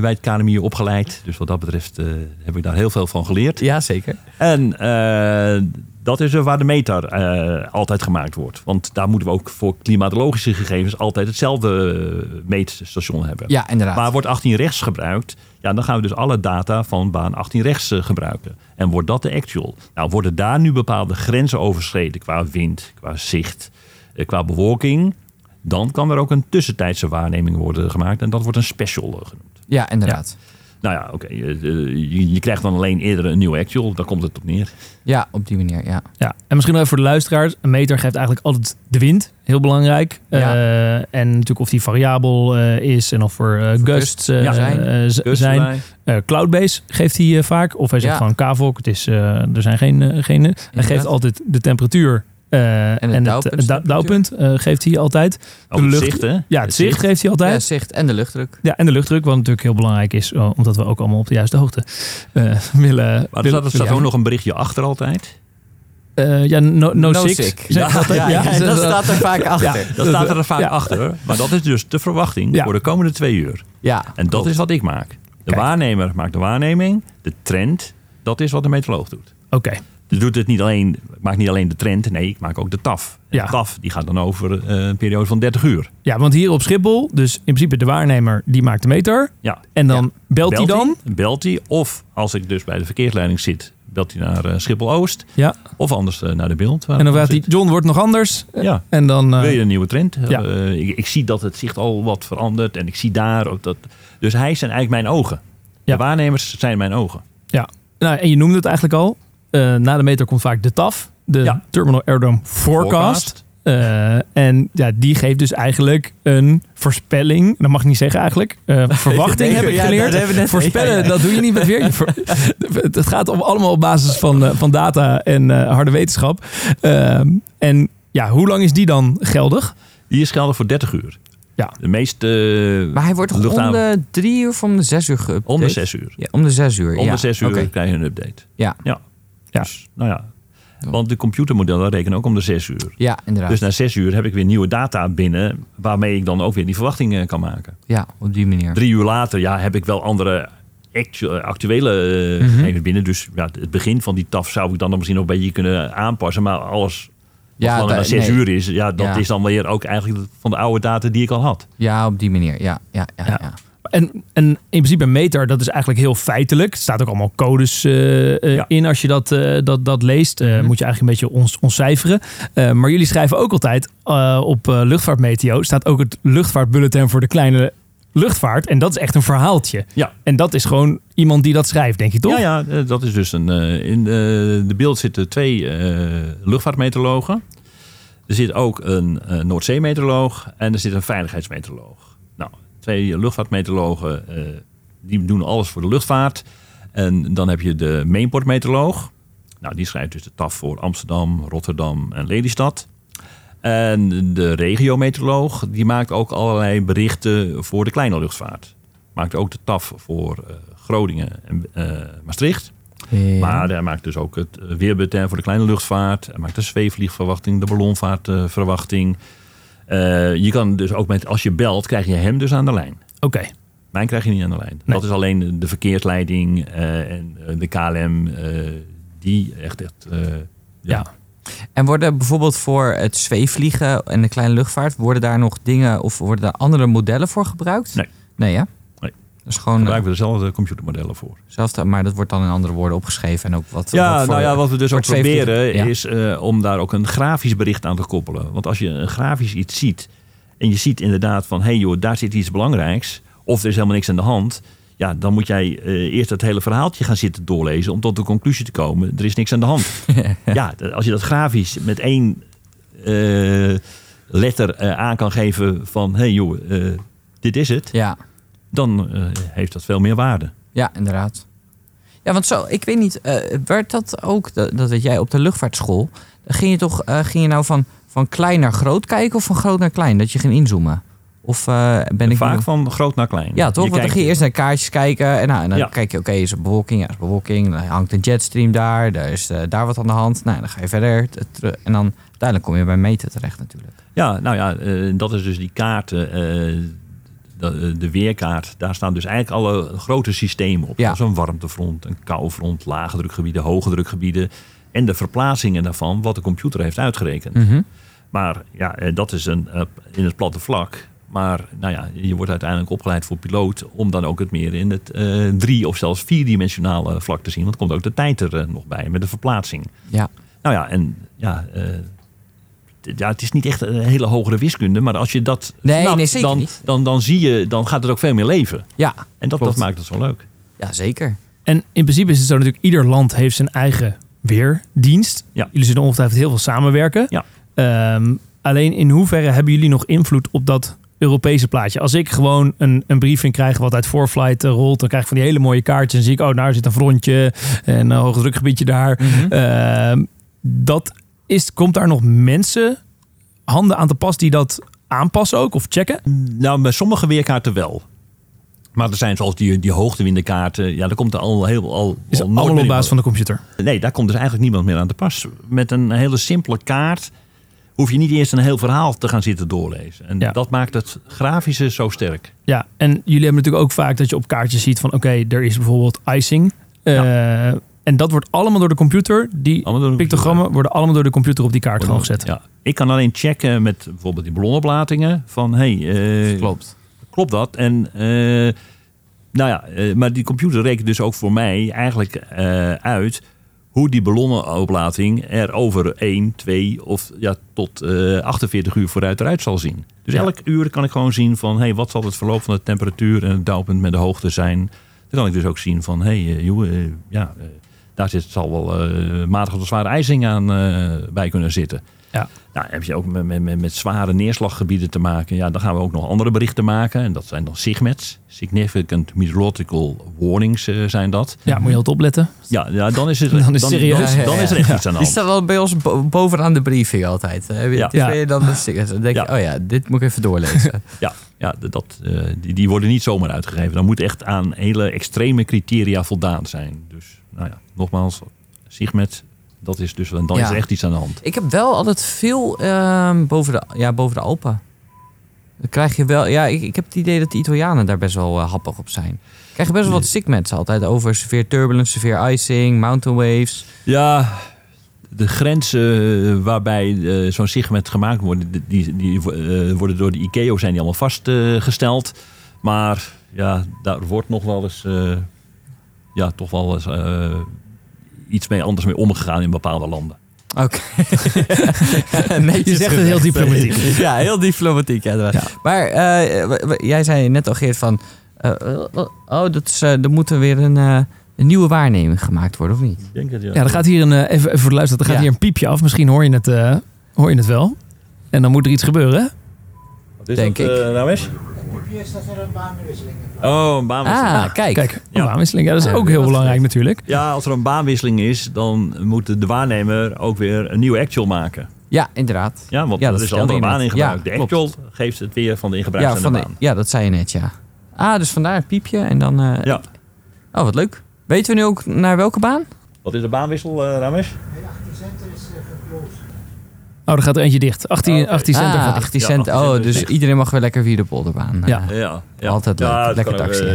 Speaker 5: bij het KNMI opgeleid. Dus wat dat betreft eh, heb ik daar heel veel van geleerd.
Speaker 4: Ja, zeker.
Speaker 5: En eh, dat is er waar de meter eh, altijd gemaakt wordt. Want daar moeten we ook voor klimatologische gegevens altijd hetzelfde eh, meetstation hebben.
Speaker 4: Ja, inderdaad.
Speaker 5: Maar wordt 18 rechts gebruikt, ja, dan gaan we dus alle data van baan 18 rechts eh, gebruiken. En wordt dat de actual? Nou, worden daar nu bepaalde grenzen overschreden qua wind, qua zicht, eh, qua bewolking? Dan kan er ook een tussentijdse waarneming worden gemaakt. En dat wordt een special eh, genoemd.
Speaker 4: ja, inderdaad.
Speaker 5: Nou ja, oké. eh, eh, je, je krijgt dan alleen eerder een nieuwe actual. Daar komt het op neer.
Speaker 4: Ja, op die manier, ja.
Speaker 3: Ja, en misschien nog even voor de luisteraars. Een meter geeft eigenlijk altijd de wind. Heel belangrijk.
Speaker 4: Ja.
Speaker 3: Eh, en natuurlijk of die variabel eh, is en of er eh, gusts eh,
Speaker 5: ja,
Speaker 4: zijn.
Speaker 3: eh, z-
Speaker 5: Dus
Speaker 3: zijn.
Speaker 5: erbij.
Speaker 3: Eh, Cloudbase geeft hij eh, vaak. Of hij zegt
Speaker 4: Ja.
Speaker 3: gewoon KVOC. Het is, eh, er zijn geen... eh, geen hij geeft altijd de temperatuur. eh, en
Speaker 4: het dauwpunt.
Speaker 3: het da- dauwpunt eh, geeft hij altijd.
Speaker 5: Ook
Speaker 3: de
Speaker 5: het
Speaker 3: lucht-
Speaker 5: zicht, hè?
Speaker 3: Ja, het, zicht, geeft hij altijd.
Speaker 4: Ja, zicht en de luchtdruk.
Speaker 3: Ja, en de luchtdruk, wat natuurlijk heel belangrijk is, eh, omdat we ook allemaal op de juiste hoogte eh, willen.
Speaker 5: Maar er
Speaker 3: willen-
Speaker 5: staat, er staat
Speaker 3: willen-
Speaker 5: ook nog een berichtje achter altijd.
Speaker 3: Eh, ja, no, no, sick. Zeg
Speaker 4: Ja,
Speaker 3: dat, eh,
Speaker 4: ja,
Speaker 3: ja.
Speaker 4: en dat staat er vaak achter.
Speaker 5: Dat staat er vaak achter. hoor. Maar dat is dus de verwachting
Speaker 3: Ja.
Speaker 5: voor de komende twee uur.
Speaker 4: Ja,
Speaker 5: En dat is wat ik maak. De
Speaker 3: Kijk.
Speaker 5: waarnemer maakt de waarneming. De trend, dat is wat de meteoroloog doet.
Speaker 3: Oké,
Speaker 5: Dus doet het niet alleen, ik maak niet alleen de trend, nee, ik maak ook de TAF. En
Speaker 3: Ja.
Speaker 5: De TAF die gaat dan over eh, een periode van 30 uur.
Speaker 3: ja, want hier op Schiphol, dus in principe de waarnemer, die maakt de meter.
Speaker 5: Ja.
Speaker 3: En dan belt hij dan.
Speaker 5: Belt hij. Of als ik dus bij de verkeersleiding zit, belt hij naar eh, Schiphol Oost.
Speaker 3: Ja.
Speaker 5: Of anders eh, naar de beeld.
Speaker 3: En dan vraagt hij, John wordt nog anders.
Speaker 5: Ja.
Speaker 3: En dan... eh,
Speaker 5: Wil je een nieuwe trend?
Speaker 3: Ja.
Speaker 5: Eh, ik, ik zie dat het zicht al wat verandert. En ik zie daar ook dat. Dus hij zijn eigenlijk mijn ogen.
Speaker 3: Ja.
Speaker 5: De waarnemers zijn mijn ogen.
Speaker 3: ja. Nou, en je noemde het eigenlijk al. Eh, na de meter komt vaak de TAF, de
Speaker 5: Ja.
Speaker 3: Terminal Aerodrome Forecast. Eh, en ja, die geeft dus eigenlijk een voorspelling. Dat mag ik niet zeggen eigenlijk. Eh, verwachting
Speaker 4: Nee,
Speaker 3: heb ik
Speaker 4: ja,
Speaker 3: geleerd.
Speaker 4: dat hebben we net-
Speaker 3: Voorspellen,
Speaker 4: ja, ja.
Speaker 3: dat doe je niet met weer. Je ver- het het gaat om, allemaal op basis van, eh, van data en eh, harde wetenschap. Ehm, en ja, hoe lang is die dan geldig?
Speaker 5: Die is geldig voor 30 uur.
Speaker 3: Ja.
Speaker 5: De meeste. eh,
Speaker 4: maar hij wordt toch om
Speaker 5: Luchthaven.
Speaker 4: de drie uur of om de zes uur geüpdate?
Speaker 5: om de 6 uur.
Speaker 4: Ja, om de zes uur.
Speaker 5: Om
Speaker 4: ja.
Speaker 5: de 6 uur
Speaker 4: Oké.
Speaker 5: krijg je een update.
Speaker 4: Ja.
Speaker 5: ja.
Speaker 3: Ja.
Speaker 5: Dus, nou ja. Want de computermodellen rekenen ook om de 6 uur.
Speaker 4: Ja, inderdaad.
Speaker 5: Dus na 6 uur heb ik weer nieuwe data binnen. waarmee ik dan ook weer die verwachtingen eh, kan maken.
Speaker 4: ja, op die manier.
Speaker 5: drie uur later ja, heb ik wel andere actu- actuele eh,
Speaker 4: Mhm.
Speaker 5: gegevens binnen. Dus ja, het begin van die taf zou ik dan misschien nog een beetje kunnen aanpassen. Maar alles wat
Speaker 4: ja,
Speaker 5: langer
Speaker 4: da-
Speaker 5: dan zes
Speaker 4: nee.
Speaker 5: uur is, ja, dat
Speaker 4: Ja.
Speaker 5: is dan weer ook eigenlijk van de oude data die ik al had.
Speaker 4: Ja, op die manier. Ja, ja, ja. ja.
Speaker 3: Ja. En, en in principe een meter, dat is eigenlijk heel feitelijk. Er staat ook allemaal codes eh, eh,
Speaker 5: Ja. Mhm.
Speaker 3: in als je dat, eh, dat, dat leest. eh, Moet je eigenlijk een beetje ons, ontcijferen. Eh, maar jullie schrijven ook altijd eh, op eh, luchtvaartmeteo... staat ook het luchtvaartbulletin voor de kleine luchtvaart. En dat is echt een verhaaltje.
Speaker 5: Ja.
Speaker 3: En dat is gewoon iemand die dat schrijft, denk je toch?
Speaker 5: Ja, ja, eh, dat is dus een. eh, in eh, de beeld zitten twee eh luchtvaartmeteorologen. Er zit ook een eh, Noordzeemeteoroloog en er zit een veiligheidsmeteoroloog. Nou, twee luchtvaartmeteorologen eh, die doen alles voor de luchtvaart. En dan heb je de mainportmeteoroloog. Nou, die schrijft dus de TAF voor Amsterdam, Rotterdam en Lelystad. En de regiometeoroloog die maakt ook allerlei berichten voor de kleine luchtvaart. Maakt ook de TAF voor eh, Groningen en eh, Maastricht.
Speaker 4: Ja.
Speaker 5: Maar hij maakt dus ook het weerbulletin voor de kleine luchtvaart. Hij maakt de zweefvliegverwachting, de ballonvaartverwachting. Eh, je kan dus ook met, als je belt, krijg je hem dus aan de lijn.
Speaker 3: Oké.
Speaker 5: Mijn krijg je niet aan de lijn.
Speaker 3: Nee.
Speaker 5: Dat is alleen de verkeersleiding eh, en eh, de KLM. eh, die echt, echt eh, ja,
Speaker 4: En worden bijvoorbeeld voor het zweefvliegen en de kleine luchtvaart, worden daar nog dingen of worden daar andere modellen voor gebruikt?
Speaker 5: Nee.
Speaker 4: Nee, hè?
Speaker 5: Nee.
Speaker 4: Dat is gewoon
Speaker 5: gebruiken we dezelfde computermodellen voor.
Speaker 4: zelfde, maar dat wordt dan in andere woorden opgeschreven en ook wat.
Speaker 5: Ja,
Speaker 4: wat voor-
Speaker 5: nou ja, wat we dus
Speaker 4: voor
Speaker 5: ook
Speaker 4: het zweefvliegen.
Speaker 5: proberen
Speaker 4: Ja.
Speaker 5: is eh, om daar ook een grafisch bericht aan te koppelen. Want als je een grafisch iets ziet en je ziet inderdaad van... hé hey joh, daar zit iets belangrijks of er is helemaal niks aan de hand... ja, dan moet jij eh, eerst dat hele verhaaltje gaan zitten doorlezen... om tot de conclusie te komen, er is niks aan de hand. ja, d- als je dat grafisch met één eh, letter eh, aan kan geven van... hé hey joh, eh, dit is het,
Speaker 4: Ja,
Speaker 5: dan eh, heeft dat veel meer waarde.
Speaker 4: ja, inderdaad. Ja, want zo, ik weet niet, eh, werd dat ook, dat, dat weet jij, op de luchtvaartschool, ging je toch, eh, ging je nou van, van klein naar groot kijken of van groot naar klein, dat je ging inzoomen? Of eh, ben ik nu-
Speaker 5: Vaak van groot naar klein.
Speaker 4: Ja, toch? Want dan
Speaker 5: Je kijkt-
Speaker 4: ging je eerst naar kaartjes kijken. En, nou, en dan
Speaker 5: Ja.
Speaker 4: kijk je, oké, is er bewolking? Ja, is er bewolking. Dan hangt een jetstream daar. Daar is eh, daar wat aan de hand. Nou, dan ga je verder. t- terug. En dan uiteindelijk kom je bij meten terecht natuurlijk.
Speaker 5: Ja, nou ja, eh, dat is dus die kaarten, eh, de, de weerkaart. Daar staan dus eigenlijk alle grote systemen op.
Speaker 4: Ja.
Speaker 5: Zo'n warmtefront, een koufront, lage drukgebieden, hoge drukgebieden. En de verplaatsingen daarvan, wat de computer heeft uitgerekend. Maar ja, eh, dat is een, eh, in het platte vlak. Maar nou ja, je wordt uiteindelijk opgeleid voor piloot om dan ook het meer in het eh, drie- of zelfs vierdimensionale vlak te zien. Want komt ook de tijd er eh, nog bij met de verplaatsing.
Speaker 4: Ja.
Speaker 5: Nou ja, en ja, eh, t- ja, het is niet echt een hele hogere wiskunde, maar als je dat
Speaker 4: Nee,
Speaker 5: snapt,
Speaker 4: nee, zeker
Speaker 5: dan,
Speaker 4: niet.
Speaker 5: dan, dan zie je, dan gaat het ook veel meer leven.
Speaker 4: Ja.
Speaker 5: En dat,
Speaker 4: Klopt.
Speaker 5: dat maakt het zo leuk.
Speaker 4: Ja, zeker.
Speaker 3: En in principe is het zo natuurlijk, ieder land heeft zijn eigen weerdienst.
Speaker 5: Ja.
Speaker 3: Jullie zullen ongetwijfeld heel veel samenwerken.
Speaker 5: Ja.
Speaker 3: Ehm, alleen in hoeverre hebben jullie nog invloed op dat Europese plaatje? Als ik gewoon een, een briefing krijg wat uit Forflight eh, rolt, dan krijg ik van die hele mooie kaartjes. En zie ik, oh, daar zit een frontje en een hoogdrukgebiedje daar. Ehm, dat is, komt daar nog mensen handen aan te pas die dat aanpassen ook of checken?
Speaker 5: Nou, bij sommige weerkaarten wel. Maar er zijn zoals die, die hoogtewindenkaarten. Ja, daar komt er al heel al.
Speaker 3: Is
Speaker 5: al nooit
Speaker 3: allemaal op
Speaker 5: meer
Speaker 3: basis van de computer.
Speaker 5: Nee, daar komt dus eigenlijk niemand meer aan te pas. Met een hele simpele kaart hoef je niet eerst een heel verhaal te gaan zitten doorlezen. En
Speaker 3: Ja.
Speaker 5: dat maakt het grafische zo sterk.
Speaker 3: Ja, en jullie hebben natuurlijk ook vaak dat je op kaartjes ziet van oké, er is bijvoorbeeld icing. Eh, En dat wordt allemaal door de computer. Die
Speaker 5: Allemaal door de
Speaker 3: pictogrammen worden allemaal door de computer op die kaart gewoon gezet.
Speaker 5: Ja. Ik kan alleen checken met bijvoorbeeld die ballonoplatingen. Van, hey, eh,
Speaker 4: Klopt.
Speaker 5: klopt dat? En eh, nou ja, eh, maar die computer rekent dus ook voor mij eigenlijk eh, uit hoe die ballonnenoplating er over 1, 2 of ja, tot eh, 48 uur vooruit eruit zal zien. Dus
Speaker 3: Ja.
Speaker 5: elk uur kan ik gewoon zien van hey, wat zal het verloop van de temperatuur en het dauwpunt met de hoogte zijn. Dan kan ik dus ook zien van hey, eh, joh, eh, ja, eh, daar zit, zal wel eh matige tot zware ijzing aan eh, bij kunnen zitten.
Speaker 3: Ja.
Speaker 5: Nou, heb je ook met, met- met, met zware neerslaggebieden te maken. Ja, dan gaan we ook nog andere berichten maken. En dat zijn dan SIGMETs. Significant Meteorological Warnings eh, zijn dat.
Speaker 3: Ja, moet je altijd opletten.
Speaker 5: Ja, ja dan is het
Speaker 3: Dan is het serieus.
Speaker 5: Dan, is- dan is er echt iets aan de
Speaker 4: Die
Speaker 5: hand.
Speaker 4: staat wel bij ons bo- bovenaan de briefing altijd. Heb je
Speaker 5: Ja.
Speaker 4: het is
Speaker 3: Ja.
Speaker 4: weer dan de stickers. Dan denk je,
Speaker 5: Ja.
Speaker 4: oh ja, dit moet ik even doorlezen.
Speaker 5: Ja, ja d- dat, eh, die, die worden niet zomaar uitgegeven. Dan moet echt aan hele extreme criteria voldaan zijn. Dus, nou ja, nogmaals, SIGMET, dat is dus, dan is
Speaker 4: Ja.
Speaker 5: er echt iets aan de hand.
Speaker 4: ik heb wel altijd veel ehm, boven, de, ja, boven de Alpen. Dan krijg je wel... Ja, ik, ik heb het idee dat de Italianen daar best wel eh, happig op zijn. Krijg je best wel wat sickmats altijd over severe turbulence, severe icing, mountain waves.
Speaker 5: Ja, de grenzen waarbij eh, zo'n sigmet gemaakt wordt, die, die, die, eh, worden door de ICAO zijn die allemaal vastgesteld. maar ja, daar wordt nog wel eens, eh, ja, toch wel eens eh, iets mee anders mee omgegaan in bepaalde landen.
Speaker 4: Oké. Netjes
Speaker 3: Je zegt het heel
Speaker 4: gezegd.
Speaker 3: diplomatiek.
Speaker 4: ja, heel diplomatiek. inderdaad. Maar eh, w- w- jij zei net al, Geert, van... eh, oh, dat is, eh, er moet er weer een, eh, een nieuwe waarneming gemaakt worden, of niet?
Speaker 5: Ik denk dat,
Speaker 3: Ja, er gaat hier een, eh, even, even voor de luisteraar, er gaat
Speaker 4: Ja.
Speaker 3: hier een piepje af. Misschien hoor je, het, eh, hoor je het wel. En dan moet er iets gebeuren.
Speaker 4: denk dat, ik. eh,
Speaker 5: nou eens? Oh, een baanwisseling.
Speaker 4: Ah, kijk.
Speaker 3: Kijk, een
Speaker 5: Ja.
Speaker 3: baanwisseling. Ja, dat is
Speaker 4: Ja,
Speaker 3: ook heel
Speaker 4: dat is
Speaker 3: belangrijk natuurlijk.
Speaker 5: Ja, als er een baanwisseling is, dan moet de waarnemer ook weer een nieuwe actual maken.
Speaker 4: Ja, inderdaad.
Speaker 5: Ja, want
Speaker 4: Ja, dat
Speaker 5: er is een
Speaker 4: vertelde
Speaker 5: andere
Speaker 4: je
Speaker 5: baan
Speaker 4: net.
Speaker 5: in gebruik.
Speaker 4: Ja,
Speaker 5: de actual geeft het weer van de in gebruik
Speaker 4: Ja, van
Speaker 5: zijnde
Speaker 4: de,
Speaker 5: baan.
Speaker 4: ja, dat zei je net, ja. Ah, dus vandaar het piepje en dan... eh,
Speaker 5: Ja.
Speaker 4: Oh, wat leuk. Weten we nu ook naar welke baan?
Speaker 5: Wat is de baanwissel, eh Rames?
Speaker 3: Oh, er gaat er eentje dicht. 18,
Speaker 5: Oh, oké.
Speaker 3: 18 cent.
Speaker 4: ah,
Speaker 3: gaat dicht.
Speaker 4: 18
Speaker 5: Ja,
Speaker 4: cent.
Speaker 5: 18 cent
Speaker 4: Oh,
Speaker 5: is
Speaker 4: dus
Speaker 5: niks.
Speaker 4: iedereen mag weer lekker via de polderbaan.
Speaker 3: Ja.
Speaker 4: Eh,
Speaker 5: Ja, ja.
Speaker 4: Altijd leuk.
Speaker 5: dat
Speaker 4: Lekker
Speaker 5: kan ook,
Speaker 4: taxi.
Speaker 5: eh,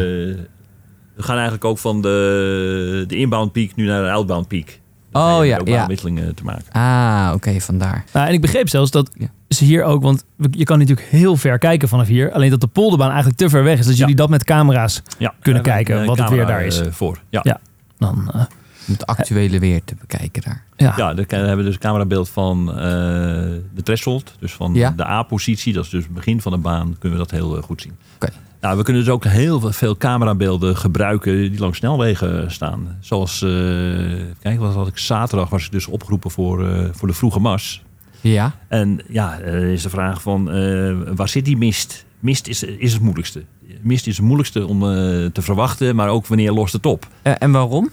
Speaker 5: we gaan eigenlijk ook van de, de inbound piek nu naar de outbound piek.
Speaker 4: Oh ja,
Speaker 5: Ook
Speaker 4: ja.
Speaker 5: baanwisselingen te maken.
Speaker 4: Ah, oké, vandaar.
Speaker 3: Nou, en ik begreep zelfs dat
Speaker 4: Ja.
Speaker 3: ze hier ook, want we- je kan natuurlijk heel ver kijken vanaf hier. Alleen dat de polderbaan eigenlijk te ver weg is. Dat jullie dat met camera's
Speaker 5: Ja.
Speaker 3: Kunnen
Speaker 5: Daar
Speaker 3: kijken
Speaker 5: hebben we
Speaker 3: wat
Speaker 5: een
Speaker 3: het weer
Speaker 5: camera,
Speaker 3: daar is.
Speaker 5: eh, voor. Ja.
Speaker 3: Ja. dan. eh,
Speaker 4: Om het actuele weer te bekijken daar.
Speaker 3: ja.
Speaker 5: Ja, daar hebben we dus een camerabeeld van eh, de threshold. Dus van
Speaker 4: Ja.
Speaker 5: de A-positie. Dat is dus het begin van de baan. Kunnen we dat heel eh, goed zien.
Speaker 4: Oké.
Speaker 5: Nou, we kunnen dus ook heel veel camerabeelden gebruiken die langs snelwegen staan. Zoals, eh, kijk, wat had ik zaterdag was ik dus opgeroepen voor, eh, voor de vroege mars.
Speaker 4: Ja.
Speaker 5: En ja, er is de vraag van eh, waar zit die mist? Mist is, is het moeilijkste. Mist is het moeilijkste om eh, te verwachten, maar ook wanneer lost het op?
Speaker 4: Eh, en waarom?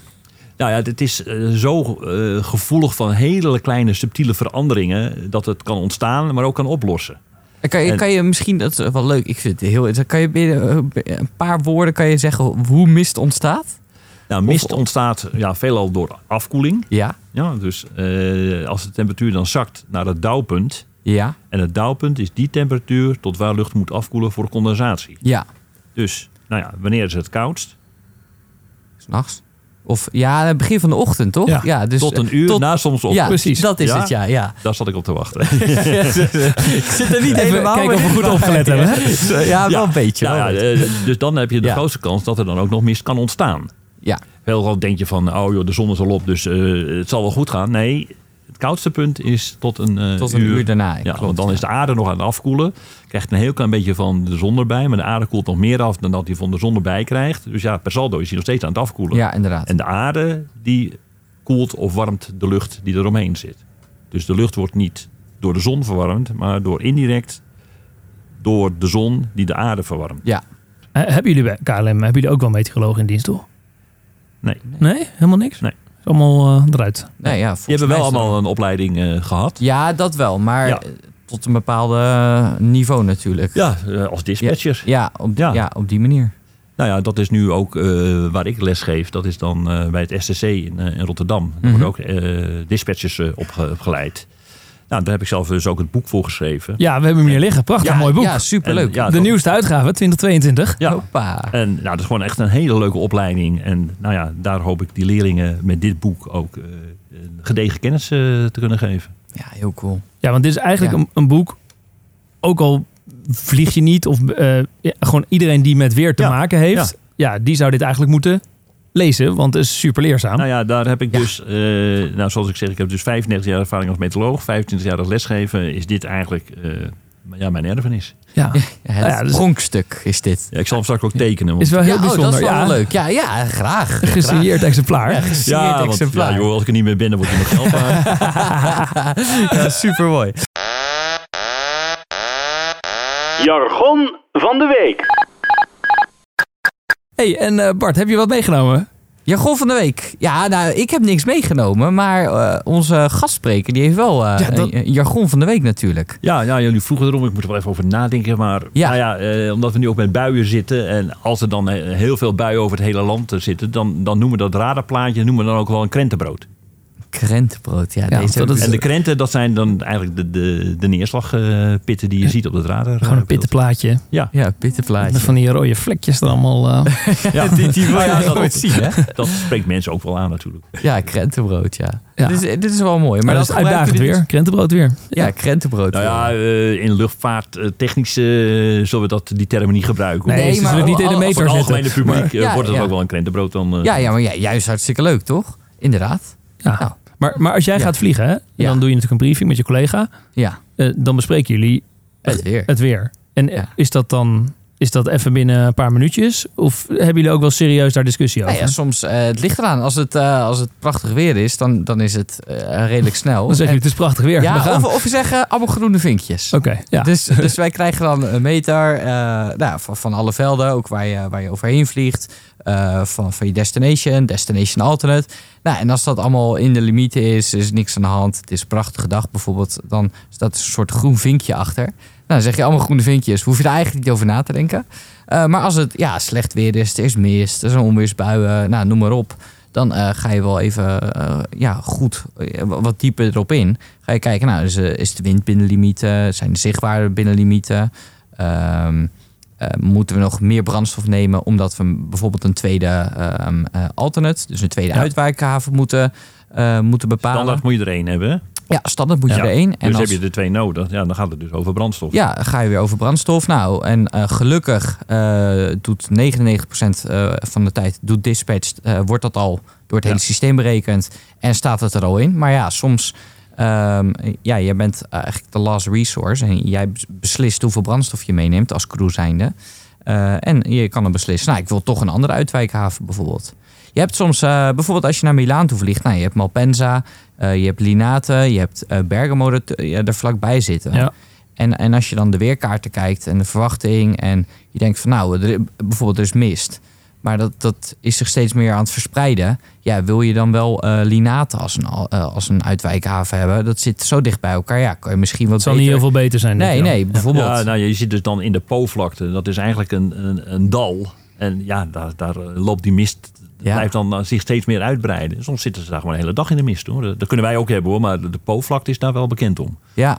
Speaker 5: Nou ja, het is eh, zo eh, gevoelig van hele kleine subtiele veranderingen dat het kan ontstaan, maar ook kan oplossen.
Speaker 4: Eh, Kan je,
Speaker 5: En-
Speaker 4: kan je misschien, dat is wel leuk, ik vind het heel interessant. Kan je binnen eh, b- een paar woorden kan je zeggen hoe mist ontstaat?
Speaker 5: Nou, mist
Speaker 4: Of-
Speaker 5: ontstaat ja, veelal door afkoeling.
Speaker 4: Ja.
Speaker 5: Ja, dus eh, als de temperatuur dan zakt naar het dauwpunt.
Speaker 4: Ja.
Speaker 5: En het dauwpunt is die temperatuur tot waar lucht moet afkoelen voor condensatie.
Speaker 4: Ja.
Speaker 5: Dus, nou ja, wanneer is het koudst?
Speaker 4: S'nachts. Of ja, aan het begin van de ochtend, toch?
Speaker 3: Ja,
Speaker 4: dus,
Speaker 5: tot
Speaker 4: eh,
Speaker 5: een uur na soms op.
Speaker 4: ja,
Speaker 3: Precies.
Speaker 4: Dat is
Speaker 5: Ja.
Speaker 4: het, ja. ja.
Speaker 5: Daar zat ik op te wachten.
Speaker 4: ik zit er niet
Speaker 3: Even kijken of we goed opgelet hebben. hè?
Speaker 4: Ja, wel een beetje.
Speaker 5: Nou
Speaker 4: wel een
Speaker 5: ja,
Speaker 4: beetje.
Speaker 5: eh, dus dan heb je de
Speaker 4: Ja.
Speaker 5: grootste kans dat er dan ook nog mist kan ontstaan.
Speaker 4: ja.
Speaker 5: Heel vaak denk je van, oh joh, de zon is al op, dus eh, het zal wel goed gaan. Nee, het het koudste punt is tot een, eh,
Speaker 4: Tot een uur, daarna.
Speaker 5: Ja,
Speaker 4: klopt,
Speaker 5: want dan
Speaker 4: ja.
Speaker 5: is de aarde nog aan het afkoelen. Krijgt een heel klein beetje van de zon erbij. Maar de aarde koelt nog meer af dan dat hij van de zon erbij krijgt. Dus ja, per saldo is hij nog steeds aan het afkoelen.
Speaker 4: Ja, inderdaad.
Speaker 5: En de aarde die koelt of warmt de lucht die eromheen zit. Dus de lucht wordt niet door de zon verwarmd, maar door indirect door de zon die de aarde verwarmt.
Speaker 4: Ja,
Speaker 3: Eh, hebben jullie bij KLM hebben jullie ook wel meteorologen in dienst, toch?
Speaker 5: Nee.
Speaker 3: Nee? Helemaal niks?
Speaker 5: Nee.
Speaker 3: Is allemaal eh, eruit.
Speaker 4: nee, ja volgens
Speaker 5: Die hebben
Speaker 4: mij
Speaker 5: wel
Speaker 4: is dat-
Speaker 5: allemaal een opleiding eh, gehad.
Speaker 4: Ja, dat wel, maar
Speaker 5: Ja.
Speaker 4: tot een bepaald niveau natuurlijk.
Speaker 5: Ja, eh, als dispatcher.
Speaker 4: Ja, op,
Speaker 5: Ja.
Speaker 4: ja. op die manier.
Speaker 5: Nou ja, dat is nu ook eh, waar ik les geef. Dat is dan eh, bij het STC in, eh, in Rotterdam. Daar worden ook eh, dispatchers eh, opge- opgeleid. Nou, daar heb ik zelf dus ook het boek voor geschreven.
Speaker 3: Ja, we hebben hem hier liggen. Prachtig mooi boek.
Speaker 4: Ja, superleuk.
Speaker 5: En, ja,
Speaker 3: de
Speaker 5: dat-
Speaker 3: nieuwste uitgave 2022.
Speaker 4: Oh.
Speaker 5: Ja.
Speaker 4: Hoppa.
Speaker 5: En nou, dat is gewoon echt een hele leuke opleiding. En nou ja, daar hoop ik die leerlingen met dit boek ook eh, een gedegen kennis eh, te kunnen geven.
Speaker 4: Ja, heel cool.
Speaker 3: Ja, want dit is eigenlijk
Speaker 4: Ja.
Speaker 3: een, een boek. Ook al vlieg je niet, of eh, ja, gewoon iedereen die met weer te
Speaker 5: Ja,
Speaker 3: maken heeft, ja. die zou dit eigenlijk moeten lezen, want het is super leerzaam.
Speaker 5: Nou ja, daar heb ik
Speaker 4: Ja.
Speaker 5: dus, eh, nou, zoals ik zeg, ik heb dus 35 jaar ervaring als meteoroloog. 25 jaar als lesgeven is dit eigenlijk eh, ja, mijn erfenis.
Speaker 3: ja.
Speaker 4: Ja, het
Speaker 3: Nou ja, dus-
Speaker 4: pronkstuk is dit.
Speaker 5: Ja, ik zal hem straks ook tekenen. Want,
Speaker 3: Is wel heel
Speaker 4: ja,
Speaker 3: bijzonder.
Speaker 4: Oh, dat is wel
Speaker 3: ja.
Speaker 4: leuk. Ja, ja, graag.
Speaker 3: Een Gesigneerd exemplaar.
Speaker 5: ja, want, ja, joh, als ik er niet meer ben, dan wordt hij nog geld waard.
Speaker 4: super mooi.
Speaker 1: Jargon van de week.
Speaker 3: hey, en eh, Bart, heb je wat meegenomen?
Speaker 4: Jargon van de week. Ja, nou, ik heb niks meegenomen, maar eh, onze gastspreker die heeft wel eh,
Speaker 3: Ja, dat-
Speaker 4: een jargon van de week natuurlijk.
Speaker 5: Ja, ja, jullie vroegen erom. Ik moet er wel even over nadenken. Maar
Speaker 4: Ja.
Speaker 5: Nou ja, eh, omdat we nu ook met buien zitten. En als er dan eh, heel veel buien over het hele land eh, zitten. Dan, dan noemen we dat radarplaatje noemen we dan ook wel een krentenbrood.
Speaker 4: Krentenbrood. Ja,
Speaker 3: want
Speaker 4: deze
Speaker 3: dat
Speaker 4: heb ik-
Speaker 3: is-
Speaker 5: En Dus de krenten, dat zijn dan eigenlijk de, de, de neerslagpitten die je ziet op het radar. eh,
Speaker 3: Gewoon een pittenplaatje.
Speaker 5: Ja,
Speaker 4: Ja, pittenplaatje.
Speaker 3: Met van die rode vlekjes er allemaal. eh,
Speaker 5: ja. die
Speaker 4: wil je nooit
Speaker 5: zien. Dat spreekt mensen ook wel aan natuurlijk.
Speaker 4: Ja, krentenbrood, ja.
Speaker 3: Ja.
Speaker 4: Dit, is, dit is wel mooi. Maar
Speaker 3: maar dat is
Speaker 4: gebruiken
Speaker 3: uitdagend
Speaker 4: jullie-
Speaker 3: weer. Krentenbrood weer.
Speaker 4: Ja, krentenbrood.
Speaker 5: Nou ja, eh, in luchtvaarttechnisch eh zullen we dat, die term niet gebruiken.
Speaker 3: Nee,
Speaker 4: Nee,
Speaker 3: ze
Speaker 4: maar
Speaker 3: zullen het niet in de
Speaker 4: als- als
Speaker 5: Voor
Speaker 3: meter
Speaker 5: het
Speaker 3: zetten.
Speaker 5: algemene publiek eh,
Speaker 4: Ja,
Speaker 5: wordt het
Speaker 4: ja.
Speaker 5: ook wel een krentenbrood dan. eh,
Speaker 4: ja, ja, maar ja, juist hartstikke leuk, toch? Inderdaad.
Speaker 3: Ja.
Speaker 4: Nou,
Speaker 3: Maar, maar als jij
Speaker 4: Ja.
Speaker 3: gaat vliegen, hè,
Speaker 4: Ja.
Speaker 3: dan doe je natuurlijk een briefing met je collega.
Speaker 4: ja,
Speaker 3: Eh, dan bespreken jullie
Speaker 4: het weer.
Speaker 3: het weer. En eh,
Speaker 4: Ja.
Speaker 3: is dat dan is dat even binnen een paar minuutjes? Of hebben jullie ook wel serieus daar discussie
Speaker 4: Nou
Speaker 3: over?
Speaker 4: ja, soms, eh, het ligt eraan. Als het, eh, als het prachtig weer is, dan, dan is het eh, redelijk snel.
Speaker 3: dan zeg je,
Speaker 4: En-
Speaker 3: het is prachtig weer. we
Speaker 4: ja,
Speaker 3: gaan.
Speaker 4: of,
Speaker 3: Oké,
Speaker 4: of we zeggen allemaal groene vinkjes.
Speaker 3: ja.
Speaker 4: Dus, dus wij krijgen dan een meter eh, nou, van, van alle velden, ook waar je, waar je overheen vliegt. eh, van, van je destination, destination alternate. Nou, en als dat allemaal in de limieten is, is niks aan de hand. Het is een prachtige dag bijvoorbeeld. Dan staat een soort groen vinkje achter. Nou, dan zeg je allemaal groene vinkjes. Hoef je er eigenlijk niet over na te denken. Eh, maar als het ja, slecht weer is, er is mist, er zijn onweersbuien, nou, noem maar op. Dan eh, ga je wel even eh, ja, goed eh, wa- wat dieper erop in. Ga je kijken, nou, is, eh, is de wind binnen limieten? Zijn de zichtwaarden binnen limieten? Ehm, eh, moeten we nog meer brandstof nemen omdat we bijvoorbeeld een tweede ehm, eh, alternate, dus een tweede
Speaker 5: Ja.
Speaker 4: uitwijkhaven moeten, eh, moeten bepalen?
Speaker 5: Standaard moet je er één hebben.
Speaker 4: Ja, standaard moet je er één.
Speaker 5: dus
Speaker 4: als-
Speaker 5: heb je er twee nodig. Ja, dan gaat het dus over brandstof.
Speaker 4: ja, ga je weer over brandstof. Nou, en eh, gelukkig eh, doet 99% eh, van de tijd doet dispatched, eh, wordt dat al door het hele
Speaker 5: Ja.
Speaker 4: systeem berekend en staat het er al in. Maar ja, soms, ehm, ja, jij bent eigenlijk de last resource en jij bes- beslist hoeveel brandstof je meeneemt als crew zijnde. Eh, en je kan dan beslissen, nou, ik wil toch een andere uitwijkhaven bijvoorbeeld. Je hebt soms, eh, bijvoorbeeld als je naar Milaan toe vliegt, nou, je hebt Malpensa, eh, je hebt Linate, je hebt eh, Bergamo er, ja, er vlakbij zitten.
Speaker 3: Ja.
Speaker 4: En, en als je dan de weerkaarten kijkt en de verwachting en je denkt van nou, er, bijvoorbeeld er is mist. Maar dat, dat is zich steeds meer aan het verspreiden. Ja, wil je dan wel eh Linate als een, al- eh, als een uitwijkhaven hebben? Dat zit zo dicht bij elkaar. Ja, kan je misschien wat
Speaker 3: Het zal niet
Speaker 4: beter...
Speaker 3: heel veel beter zijn. denk
Speaker 4: Nee,
Speaker 3: ik dan.
Speaker 4: nee, bijvoorbeeld.
Speaker 5: Ja, nou, je zit dus dan in de Po-vlakte. Dat is eigenlijk een, een, een dal. En ja, daar, daar eh, loopt die mist.
Speaker 4: Ja.
Speaker 5: Blijft dan eh, zich steeds meer uitbreiden. Soms zitten ze daar gewoon de hele dag in de mist. Hoor. Dat, dat kunnen wij ook hebben hoor. Maar de, de Po-vlakte is daar wel bekend om.
Speaker 4: Ja,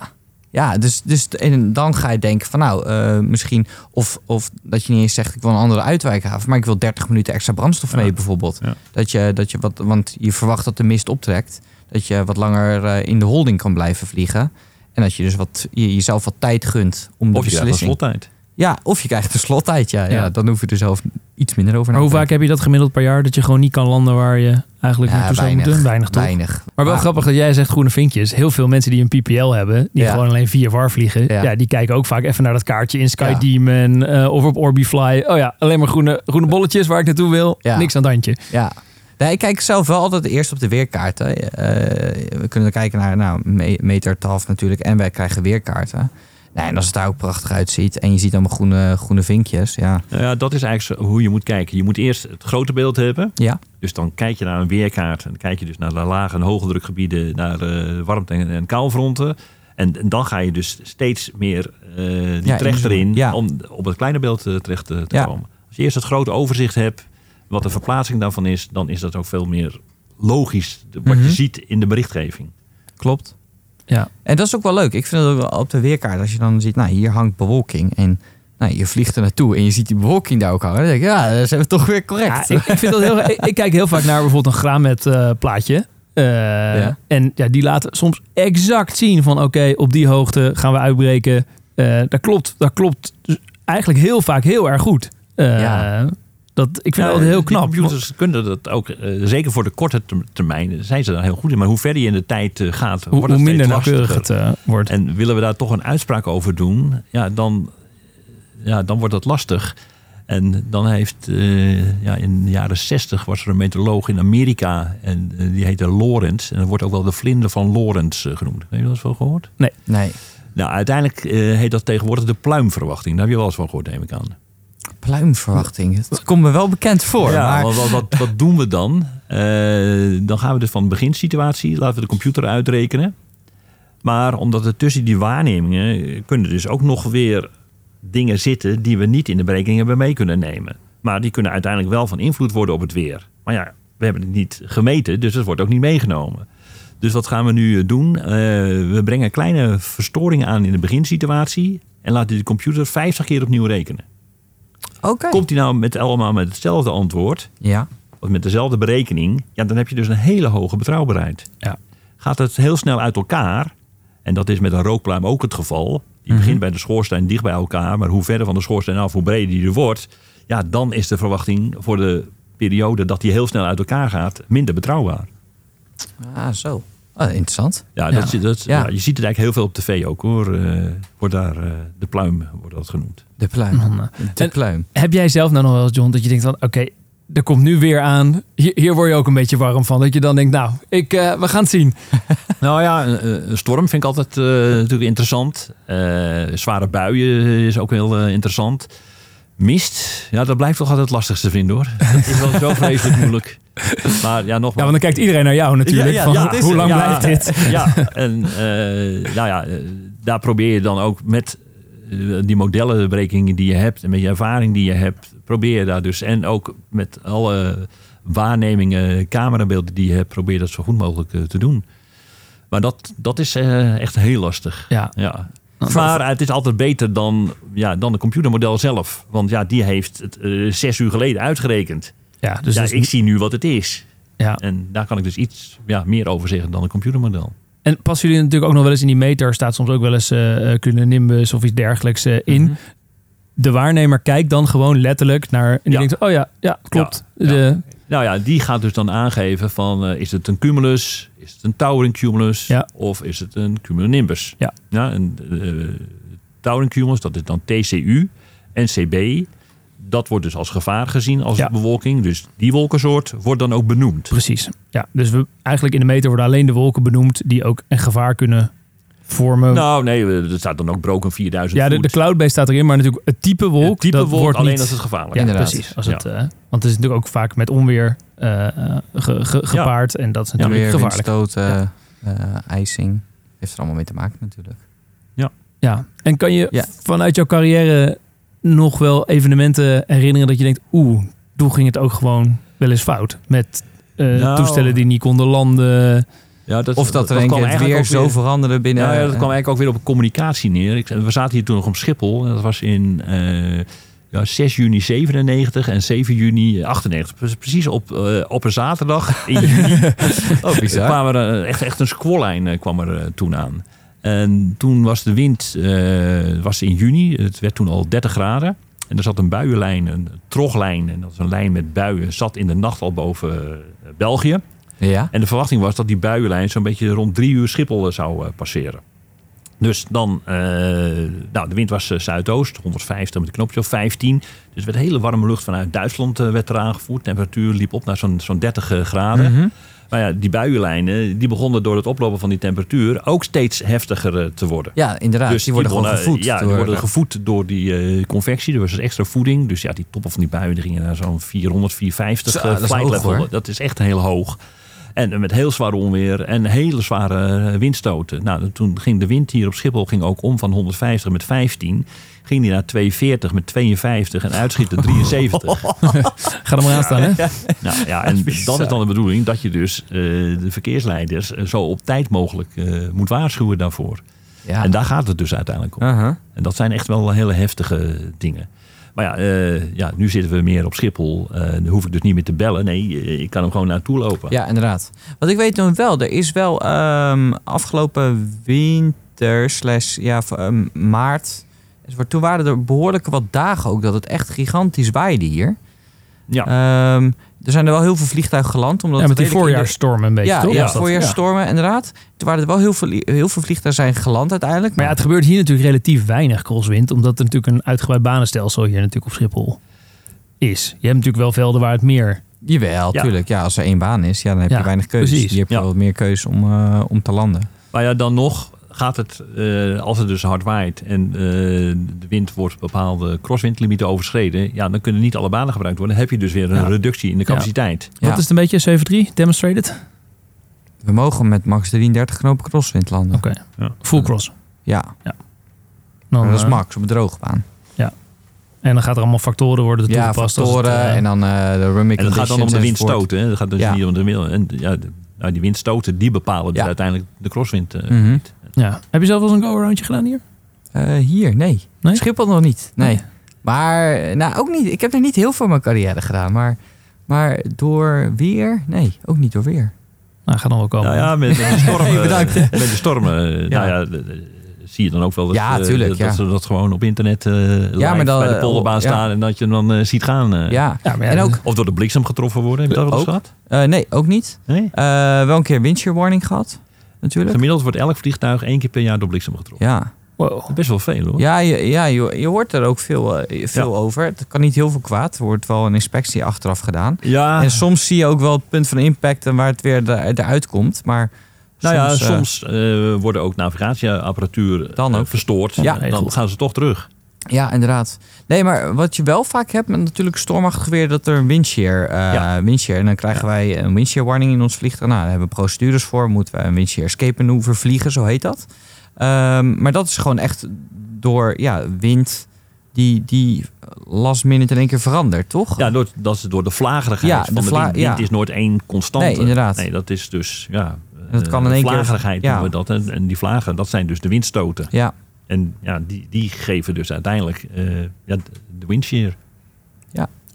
Speaker 4: ja dus, dus en dan ga je denken van nou, eh, misschien... Of, of dat je niet eens zegt, ik wil een andere uitwijkhaven... maar ik wil 30 minuten extra brandstof mee bijvoorbeeld.
Speaker 5: Ja.
Speaker 4: Dat je, dat je wat, want je verwacht dat de mist optrekt. Dat je wat langer eh, in de holding kan blijven vliegen. En dat je dus wat, je, jezelf wat tijd gunt om de
Speaker 5: Of je krijgt een
Speaker 4: beslissing...
Speaker 5: slottijd.
Speaker 4: Ja, of je krijgt een slottijd, ja, ja.
Speaker 3: Ja.
Speaker 4: Dan hoef je er zelf iets minder over
Speaker 3: Maar hoe
Speaker 4: nadenken.
Speaker 3: vaak heb je dat gemiddeld per jaar? Dat je gewoon niet kan landen waar je eigenlijk
Speaker 4: Ja,
Speaker 3: naartoe zou moeten? Weinig toch?
Speaker 4: Weinig.
Speaker 3: Maar wel grappig dat jij zegt groene vinkjes. Heel veel mensen die een PPL hebben, die
Speaker 4: Ja.
Speaker 3: gewoon alleen via VAR vliegen, ja.
Speaker 4: Ja.
Speaker 3: die kijken ook vaak even naar dat kaartje in
Speaker 4: Ja.
Speaker 3: Skydemon eh, of op Orbifly. Oh ja, alleen maar groene, groene bolletjes waar ik naartoe wil.
Speaker 4: Ja.
Speaker 3: Niks aan het handje.
Speaker 4: Ja. Nee, ik kijk zelf wel altijd eerst op de weerkaarten. Eh, we kunnen dan kijken naar nou, me- meter, te half natuurlijk. En wij krijgen weerkaarten. Nou, en als het daar ook prachtig uitziet. En je ziet allemaal groene, groene vinkjes. Ja.
Speaker 5: Nou ja, dat is eigenlijk zo hoe je moet kijken. Je moet eerst het grote beeld hebben.
Speaker 4: Ja.
Speaker 5: Dus dan kijk je naar een weerkaart. En dan kijk je dus naar de lage en hoge drukgebieden, naar eh, warmte- en, en koufronten. En, en dan ga je dus steeds meer eh die
Speaker 4: Ja,
Speaker 5: trechter in
Speaker 4: inzoomen. Ja.
Speaker 5: om op het kleine beeld eh, terecht eh, te
Speaker 4: Ja.
Speaker 5: komen. Als je eerst het grote overzicht hebt, wat de verplaatsing daarvan is, dan is dat ook veel meer logisch de- wat
Speaker 4: Mhm.
Speaker 5: je ziet in de berichtgeving.
Speaker 4: Klopt.
Speaker 3: Ja.
Speaker 4: En dat is ook wel leuk. Ik vind het ook wel op de weerkaart. Als je dan ziet, nou hier hangt bewolking. En nou, je vliegt er naartoe. En je ziet die bewolking daar ook hangen. Dan denk je, ja, dat zijn we toch weer correct.
Speaker 3: Ja, Ah, ik, ik, vind dat heel, ik, ik kijk heel vaak naar bijvoorbeeld een graamet eh plaatje. Eh,
Speaker 4: Ja.
Speaker 3: En ja, die laten soms exact zien van oké, op die hoogte gaan we uitbreken. Eh, dat klopt, dat klopt dus eigenlijk heel vaak heel erg goed. Eh,
Speaker 4: Ja.
Speaker 3: dat, ik vind dat
Speaker 5: Ja,
Speaker 3: heel
Speaker 5: die
Speaker 3: knap.
Speaker 5: Computers kunnen dat ook, eh, zeker voor de korte term- termijn, zijn ze daar heel goed in. Maar hoe verder je in de tijd eh, gaat,
Speaker 3: Hoe,
Speaker 5: wordt
Speaker 3: hoe
Speaker 5: het
Speaker 3: minder
Speaker 5: steeds
Speaker 3: nauwkeurig
Speaker 5: lastiger.
Speaker 3: het eh, wordt.
Speaker 5: En willen we daar toch een uitspraak over doen, ja, dan, ja, dan wordt dat lastig. En dan heeft, eh, ja, in de jaren zestig was er een meteoroloog in Amerika. En eh, die heette Lorentz. En dat wordt ook wel de vlinder van Lorentz eh, genoemd. Heb je dat eens van gehoord?
Speaker 4: Nee,
Speaker 5: Nou, uiteindelijk eh, heet dat tegenwoordig de pluimverwachting. Daar heb je wel eens van gehoord, neem ik aan.
Speaker 4: pluimverwachting. Dat komt me wel bekend voor.
Speaker 5: Ja,
Speaker 4: maar...
Speaker 5: maar wat, wat, wat doen we dan? Eh, dan gaan we dus van de beginsituatie, laten we de computer uitrekenen. Maar omdat er tussen die waarnemingen eh, kunnen dus ook nog weer dingen zitten die we niet in de berekening hebben mee kunnen nemen. Maar die kunnen uiteindelijk wel van invloed worden op het weer. Maar ja, we hebben het niet gemeten, dus het wordt ook niet meegenomen. Dus wat gaan we nu eh, doen? Eh, we brengen kleine verstoringen aan in de beginsituatie en laten de computer 50 keer opnieuw rekenen.
Speaker 4: Oké.
Speaker 5: Komt hij nou met allemaal met hetzelfde antwoord?
Speaker 4: Ja.
Speaker 5: Want met dezelfde berekening, ja, dan heb je dus een hele hoge betrouwbaarheid.
Speaker 3: Ja.
Speaker 5: Gaat het heel snel uit elkaar, en dat is met een rookpluim ook het geval. Die begint bij de schoorsteen dicht bij elkaar, maar hoe verder van de schoorsteen af, hoe breder die er wordt, ja, dan is de verwachting voor de periode dat die heel snel uit elkaar gaat, minder betrouwbaar.
Speaker 4: Ah, zo. Ah, interessant.
Speaker 5: Ja, dat,
Speaker 4: Ja.
Speaker 5: is- dat, is-
Speaker 4: Ja.
Speaker 5: ja, je ziet het eigenlijk heel veel op tv ook hoor. Eh, wordt daar eh, de pluim wordt dat genoemd.
Speaker 4: De pluim. De
Speaker 3: Mm-hmm. En-
Speaker 4: pluim.
Speaker 3: Heb jij zelf nou nog wel eens, John, dat je denkt van oké, er komt nu weer aan. Hier, hier word je ook een beetje warm van. Dat je dan denkt, nou, ik, eh, we gaan het zien.
Speaker 5: Nou ja, een, een storm vind ik altijd eh, natuurlijk interessant. Eh, zware buien is ook heel eh, interessant. Mist, ja, dat blijft toch altijd het lastigste vinden hoor. Dat is wel zo vreselijk moeilijk. Maar ja,
Speaker 3: Ja,
Speaker 5: nogmaals.
Speaker 3: want dan kijkt iedereen naar jou natuurlijk.
Speaker 5: Ja, ja,
Speaker 3: van,
Speaker 5: ja, dat is
Speaker 3: hoe
Speaker 5: het.
Speaker 3: lang
Speaker 5: Ja.
Speaker 3: blijft dit?
Speaker 5: Ja, en eh, nou ja, eh, daar probeer je dan ook met eh, die modellenberekeningen die je hebt en met je ervaring die je hebt, probeer je daar dus en ook met alle waarnemingen, camerabeelden die je hebt, probeer je dat zo goed mogelijk eh, te doen. Maar dat, dat is eh, echt heel lastig.
Speaker 3: Ja.
Speaker 5: Ja. Maar het is altijd beter dan, ja, dan de computermodel zelf. Want ja, die heeft het eh, zes uur geleden uitgerekend.
Speaker 3: Ja, dus
Speaker 5: ja,
Speaker 3: dat is-
Speaker 5: ik zie nu wat het is.
Speaker 3: ja.
Speaker 5: En daar kan ik dus iets ja, meer over zeggen dan een computermodel.
Speaker 3: En passen jullie natuurlijk ook nog wel eens in die meter, staat soms ook wel eens eh eh, cunnimbus of iets dergelijks eh, in.
Speaker 5: Mhm.
Speaker 3: De waarnemer kijkt dan gewoon letterlijk naar. En die
Speaker 5: Ja.
Speaker 3: denkt, oh ja, ja klopt.
Speaker 5: Ja, ja.
Speaker 3: De,
Speaker 5: Nou ja, die gaat dus dan aangeven van eh, is het een cumulus, is het een towering cumulus
Speaker 3: Ja.
Speaker 5: of is het een cumulonimbus.
Speaker 3: Ja.
Speaker 5: ja en, eh, towering cumulus, dat is dan TCU en CB. Dat wordt dus als gevaar gezien als
Speaker 3: Ja.
Speaker 5: bewolking. Dus die wolkensoort wordt dan ook benoemd.
Speaker 3: Precies. Ja, dus we, eigenlijk in de meter worden alleen de wolken benoemd die ook een gevaar kunnen vormen.
Speaker 5: Nou nee, eh, er staat dan ook broken 4000
Speaker 3: ja, de,
Speaker 5: voet.
Speaker 3: de cloudbase staat erin, maar natuurlijk het type wolk.
Speaker 5: Het type
Speaker 3: dat
Speaker 5: wolk,
Speaker 3: wordt
Speaker 5: alleen
Speaker 3: niet,
Speaker 5: als het gevaarlijk
Speaker 3: Ja,
Speaker 5: is.
Speaker 4: Inderdaad.
Speaker 3: precies. Als
Speaker 5: Ja.
Speaker 3: Het, eh, want het is natuurlijk ook vaak met onweer eh, eh, ge- ge- gepaard. En dat is natuurlijk
Speaker 4: Weer
Speaker 3: gevaarlijk.
Speaker 4: windstoten, eh, ijsing. Heeft er allemaal mee te maken natuurlijk.
Speaker 3: Ja. En kan je
Speaker 4: Ja.
Speaker 3: vanuit jouw carrière nog wel evenementen herinneren dat je denkt... oeh, toen ging het ook gewoon wel eens fout. Met eh,
Speaker 5: Nou.
Speaker 3: toestellen die niet konden landen.
Speaker 5: Ja, dat,
Speaker 4: Of dat er een
Speaker 5: kwam
Speaker 4: keer het
Speaker 5: eigenlijk
Speaker 4: weer
Speaker 5: ook
Speaker 4: zo
Speaker 5: weer-
Speaker 4: veranderen binnen...
Speaker 5: Ja, ja, dat kwam eigenlijk ook weer op communicatie neer. Ik, we zaten hier toen nog op Schiphol. En dat was in eh, ja, 6 juni 97 en 7 juni 98. Pre- Precies op, eh, op een zaterdag in juni. oh,
Speaker 4: bizar.
Speaker 5: Kwam er, eh, echt, echt een squallijn eh, kwam er eh, toen aan. En toen was de wind eh, was in juni. Het werd toen al 30 graden. En er zat een buienlijn, een troglijn. En dat is een lijn met buien. Zat in de nacht al boven eh, België.
Speaker 4: Ja.
Speaker 5: En de verwachting was dat die buienlijn zo'n beetje rond drie uur Schiphol eh, zou eh, passeren. Dus dan, eh, nou, de wind was eh, zuidoost, 150 met een knopje of 15. Dus er werd hele warme lucht vanuit Duitsland eh, werd er aangevoerd. De temperatuur liep op naar zo'n zo'n 30 graden. Maar ja, die buienlijnen die begonnen door het oplopen van die temperatuur ook steeds heftiger eh, te worden.
Speaker 4: ja, inderdaad.
Speaker 5: Dus
Speaker 4: die worden gewoon
Speaker 5: begonnen-
Speaker 4: gevoed.
Speaker 5: Ja, die
Speaker 4: door-
Speaker 5: worden gevoed door die eh, convectie. Er was dus extra voeding. Dus ja, die toppen van die buien die gingen naar zo'n 400, 450
Speaker 4: Zo,
Speaker 5: eh,
Speaker 4: dat is
Speaker 5: flight
Speaker 4: hoog,
Speaker 5: level.
Speaker 4: hoor.
Speaker 5: Dat is echt heel hoog. En eh, met heel zwaar onweer en hele zware eh, windstoten. Nou, toen ging de wind hier op Schiphol ging ook om van 150 met 15. Ging die naar 240 met 52 en uitschieten 73.
Speaker 3: Ga er maar aan staan, hè?
Speaker 5: Nou ja, en dat is dan de bedoeling dat je dus eh, de verkeersleiders eh, zo op tijd mogelijk eh, moet waarschuwen daarvoor.
Speaker 4: ja.
Speaker 5: En daar gaat het dus uiteindelijk om.
Speaker 4: Aha.
Speaker 5: En dat zijn echt wel hele heftige dingen. Maar ja, eh, ja nu zitten we meer op Schiphol. Eh, dan hoef ik dus niet meer te bellen. Nee, eh, ik kan hem gewoon naartoe lopen.
Speaker 4: Ja, inderdaad. Wat ik weet dan wel, er is wel ehm, afgelopen winter slash ja, v- ehm, maart. enzovoort, Toen waren er behoorlijk wat dagen ook dat het echt gigantisch waaide hier.
Speaker 5: Ja.
Speaker 4: Ehm, er zijn er wel heel veel vliegtuigen geland. Omdat
Speaker 3: Ja, met die
Speaker 4: redelijk in de-
Speaker 3: voorjaarsstorm een beetje,
Speaker 4: Ja,
Speaker 3: toch?
Speaker 4: ja,
Speaker 3: Was dat?
Speaker 4: voorjaarsstormen, inderdaad. Toen waren er wel heel veel, heel veel vliegtuigen zijn geland uiteindelijk.
Speaker 3: Maar ja, het gebeurt hier natuurlijk relatief weinig crosswind, omdat er natuurlijk een uitgebreid banenstelsel hier natuurlijk op Schiphol is. Je hebt natuurlijk wel velden waar het meer.
Speaker 4: Jawel,
Speaker 5: Ja.
Speaker 4: tuurlijk. Ja, als er één baan is, ja, dan heb
Speaker 3: Ja,
Speaker 4: je weinig keuze.
Speaker 3: precies.
Speaker 4: Je hebt
Speaker 5: Ja.
Speaker 4: wel wat meer keuze om, eh, om te landen.
Speaker 5: Maar ja, dan nog gaat het, eh, als het dus hard waait en eh, de wind wordt bepaalde crosswindlimieten overschreden. Ja, dan kunnen niet alle banen gebruikt worden. Dan heb je dus weer een
Speaker 4: Ja.
Speaker 5: reductie in de capaciteit.
Speaker 4: Ja.
Speaker 3: Wat is het een beetje? 7-3? Demonstrated?
Speaker 4: We mogen met max 33 knopen crosswind landen.
Speaker 3: Oké.
Speaker 5: Ja.
Speaker 3: Full cross.
Speaker 4: Ja,
Speaker 3: Dan,
Speaker 4: maar dat is
Speaker 3: eh,
Speaker 4: max op een droogbaan.
Speaker 3: En dan gaat er allemaal factoren worden
Speaker 4: Ja,
Speaker 3: toegepast. als het,
Speaker 4: factoren
Speaker 3: eh,
Speaker 4: en dan eh, de running
Speaker 5: En het gaat dan om de windstoten. hè. Het gaat dus
Speaker 4: Ja.
Speaker 5: niet om de wind. En ja, de- nou, die windstoten die bepalen dus
Speaker 4: Ja. Mhm.
Speaker 5: uiteindelijk de crosswind. eh.
Speaker 3: ja. Heb je zelf wel eens een go-aroundje gedaan hier?
Speaker 4: Eh, hier, nee.
Speaker 3: Nee?
Speaker 4: Schiphol nog niet, nee. Maar, eh, nou ook niet. Ik heb er niet heel veel mijn carrière gedaan. Maar, maar door weer? Nee, ook niet door weer.
Speaker 3: Nou, gaat dan wel komen.
Speaker 5: Nou ja, met, met de stormen.
Speaker 4: Hey, bedankt.
Speaker 5: Met de stormen. eh,
Speaker 4: Ja.
Speaker 5: Nou ja, de- de- zie je dan ook wel dat,
Speaker 4: Ja,
Speaker 5: eh,
Speaker 4: tuurlijk,
Speaker 5: dat,
Speaker 4: ja.
Speaker 5: dat ze dat gewoon op internet eh live
Speaker 4: maar dan,
Speaker 5: bij de
Speaker 4: eh,
Speaker 5: polderbaan
Speaker 4: ja.
Speaker 5: staan en dat je hem dan eh, ziet gaan. eh.
Speaker 4: Ja,
Speaker 3: Ja, maar ja,
Speaker 4: en ook,
Speaker 3: dat-
Speaker 5: Of door de bliksem getroffen worden. Heb je dat wel eens
Speaker 4: Ook.
Speaker 5: gehad?
Speaker 4: eh, nee, ook niet.
Speaker 5: Nee?
Speaker 4: Eh, wel een keer windshear warning gehad, natuurlijk.
Speaker 5: Gemiddeld wordt elk vliegtuig één keer per jaar door bliksem getroffen.
Speaker 4: Ja,
Speaker 3: Wow.
Speaker 5: Best wel veel hoor.
Speaker 4: ja, je, ja je, je hoort er ook veel, eh, veel over. Het kan niet heel veel kwaad. Er wordt wel een inspectie achteraf gedaan.
Speaker 5: Ja,
Speaker 4: En soms zie je ook wel het punt van impact en waar het weer er- eruit komt. Maar
Speaker 5: nou ja,
Speaker 4: soms, eh,
Speaker 5: soms eh, worden ook navigatieapparatuur
Speaker 4: Dan
Speaker 5: eh,
Speaker 4: ook.
Speaker 5: verstoord.
Speaker 4: Ja.
Speaker 5: En dan gaan ze toch terug.
Speaker 4: Ja, inderdaad. Nee, maar wat je wel vaak hebt met natuurlijk stormachtig weer, dat er een windshear, eh,
Speaker 5: Ja.
Speaker 4: windshear. En dan krijgen wij een windshear warning in ons vliegtuig. Nou, daar hebben we procedures voor. Moeten we een windshear escape maneuver vliegen, zo heet dat. Ehm, maar dat is gewoon echt door ja, wind die, die last minute in één keer verandert, toch?
Speaker 5: Ja, door, dat is door de vlagerigheid
Speaker 4: Ja,
Speaker 5: van
Speaker 4: de
Speaker 5: de,
Speaker 4: vla-
Speaker 5: wind. Wind
Speaker 4: ja.
Speaker 5: is nooit één constante.
Speaker 4: Nee, inderdaad.
Speaker 5: Nee, dat is dus, ja...
Speaker 4: Dat
Speaker 5: eh,
Speaker 4: kan in één keer-
Speaker 5: Vlagerigheid
Speaker 4: ja.
Speaker 5: noemen we dat. En, en die vlagen, dat zijn dus de windstoten.
Speaker 4: Ja,
Speaker 5: En ja, die, die geven dus uiteindelijk eh, ja, de windshear.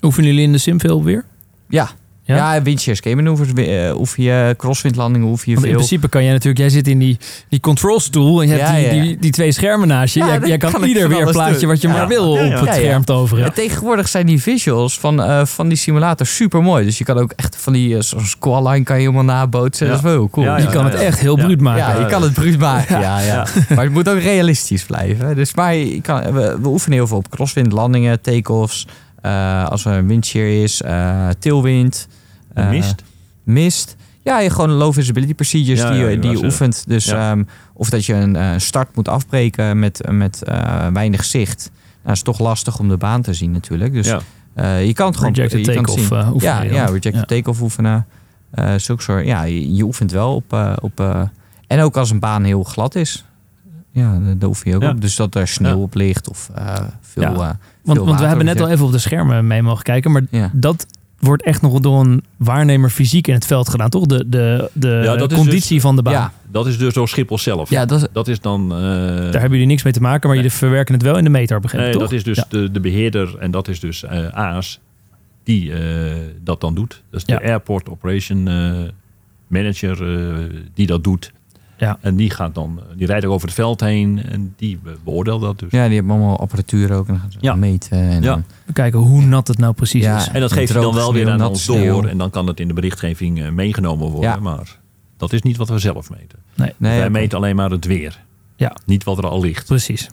Speaker 3: Oefenen jullie in de sim veel weer?
Speaker 4: ja.
Speaker 3: Ja?
Speaker 4: ja? windshear escape manoeuvres, eh, oef je crosswindlandingen, oef je
Speaker 5: Oh,
Speaker 3: Want in
Speaker 4: veel.
Speaker 3: principe kan jij natuurlijk, jij zit in die, die control stoel en je hebt
Speaker 4: Ja,
Speaker 3: die,
Speaker 4: ja, ja.
Speaker 3: Die, die twee schermen naast je.
Speaker 4: Ja,
Speaker 3: jij,
Speaker 4: dan
Speaker 3: jij kan,
Speaker 4: kan ik
Speaker 3: ieder
Speaker 4: van
Speaker 3: weer
Speaker 4: alles
Speaker 3: plaatje
Speaker 4: doen.
Speaker 3: wat je
Speaker 5: Ja.
Speaker 3: maar wil
Speaker 5: Ja, ja.
Speaker 3: op het
Speaker 4: Ja, ja.
Speaker 3: scherm toveren.
Speaker 4: En tegenwoordig zijn die visuals van, eh, van die simulator super mooi. Dus je kan ook echt van die eh, zo'n squall line kan je helemaal nabootsen.
Speaker 5: Ja.
Speaker 4: Dat is wel heel cool.
Speaker 5: Ja,
Speaker 4: Ja,
Speaker 5: ja.
Speaker 3: je kan het echt heel
Speaker 5: Ja.
Speaker 3: bruut maken.
Speaker 4: je kan het bruut maken. Ja, ja. Maar het moet ook realistisch blijven. Dus, maar je kan, we, we oefenen heel veel op crosswind, landingen, take-offs. eh, als er een windshear is, eh, tilwind. eh,
Speaker 5: mist.
Speaker 4: mist. Ja, je gewoon low visibility procedures
Speaker 5: Ja,
Speaker 4: die,
Speaker 5: ja,
Speaker 4: je-
Speaker 5: die
Speaker 4: die je
Speaker 5: was, eh,
Speaker 4: oefent. Dus
Speaker 5: ja.
Speaker 4: ehm, of dat je een eh, start moet afbreken met, met eh, weinig zicht. Nou, dat is toch lastig om de baan te zien natuurlijk. Dus
Speaker 5: ja.
Speaker 4: eh, je kan het gewoon...
Speaker 3: Rejected
Speaker 4: je kan het
Speaker 3: takeoff,
Speaker 4: zien.
Speaker 3: eh, oefenen
Speaker 4: Ja,
Speaker 3: je
Speaker 4: ja
Speaker 3: dan.
Speaker 4: rejected
Speaker 3: Ja.
Speaker 4: take-off oefenen. Eh zulke soort... Ja, je, je oefent wel op... eh, op eh, en ook als een baan heel glad is. Ja, daar daar oefen je ook
Speaker 5: Ja.
Speaker 4: op. Dus dat er sneeuw
Speaker 5: Ja.
Speaker 4: op ligt of eh, veel,
Speaker 5: Ja.
Speaker 4: eh,
Speaker 3: Want,
Speaker 4: veel
Speaker 3: want we
Speaker 4: water
Speaker 3: hebben
Speaker 4: op
Speaker 3: net
Speaker 4: je-
Speaker 3: al even op de schermen mee mogen kijken. Maar
Speaker 4: Ja.
Speaker 3: dat wordt echt nog door een waarnemer fysiek in het veld gedaan, toch? De, de, de
Speaker 5: Ja, dat is
Speaker 3: conditie van de baan.
Speaker 4: dus- Ja,
Speaker 5: Dat is dus door Schiphol zelf.
Speaker 4: ja, dat is...
Speaker 5: Dat is dan... eh,
Speaker 3: Daar hebben jullie niks mee te maken, maar jullie verwerken het wel in de meter, begrijp ik,
Speaker 5: nee,
Speaker 3: toch?
Speaker 5: dat is dus
Speaker 3: Ja.
Speaker 5: de, de beheerder en dat is dus eh, AAS die eh, dat dan doet. Dat is de
Speaker 3: Ja.
Speaker 5: Airport Operation eh, Manager eh, die dat doet.
Speaker 3: Ja.
Speaker 5: En die, gaat dan, die rijdt ook over het veld heen en die be- beoordeelt dat dus.
Speaker 4: Ja, die hebben allemaal apparatuur ook. En dan gaan ze
Speaker 5: Ja.
Speaker 4: meten. En
Speaker 5: Ja.
Speaker 4: dan-
Speaker 3: We kijken hoe nat het nou precies
Speaker 4: Ja.
Speaker 3: is.
Speaker 5: En dat
Speaker 4: En
Speaker 5: geeft hij dan
Speaker 4: droog
Speaker 5: wel weer
Speaker 4: sneeuw,
Speaker 5: aan
Speaker 4: nat
Speaker 5: ons
Speaker 4: sneeuw.
Speaker 5: door en dan kan dat in de berichtgeving eh, meegenomen worden.
Speaker 4: Ja.
Speaker 5: Maar dat is niet wat we zelf meten.
Speaker 4: nee,
Speaker 5: Wij
Speaker 4: ja,
Speaker 5: meten alleen maar het weer.
Speaker 3: Ja.
Speaker 5: Niet wat er al ligt.
Speaker 3: Precies.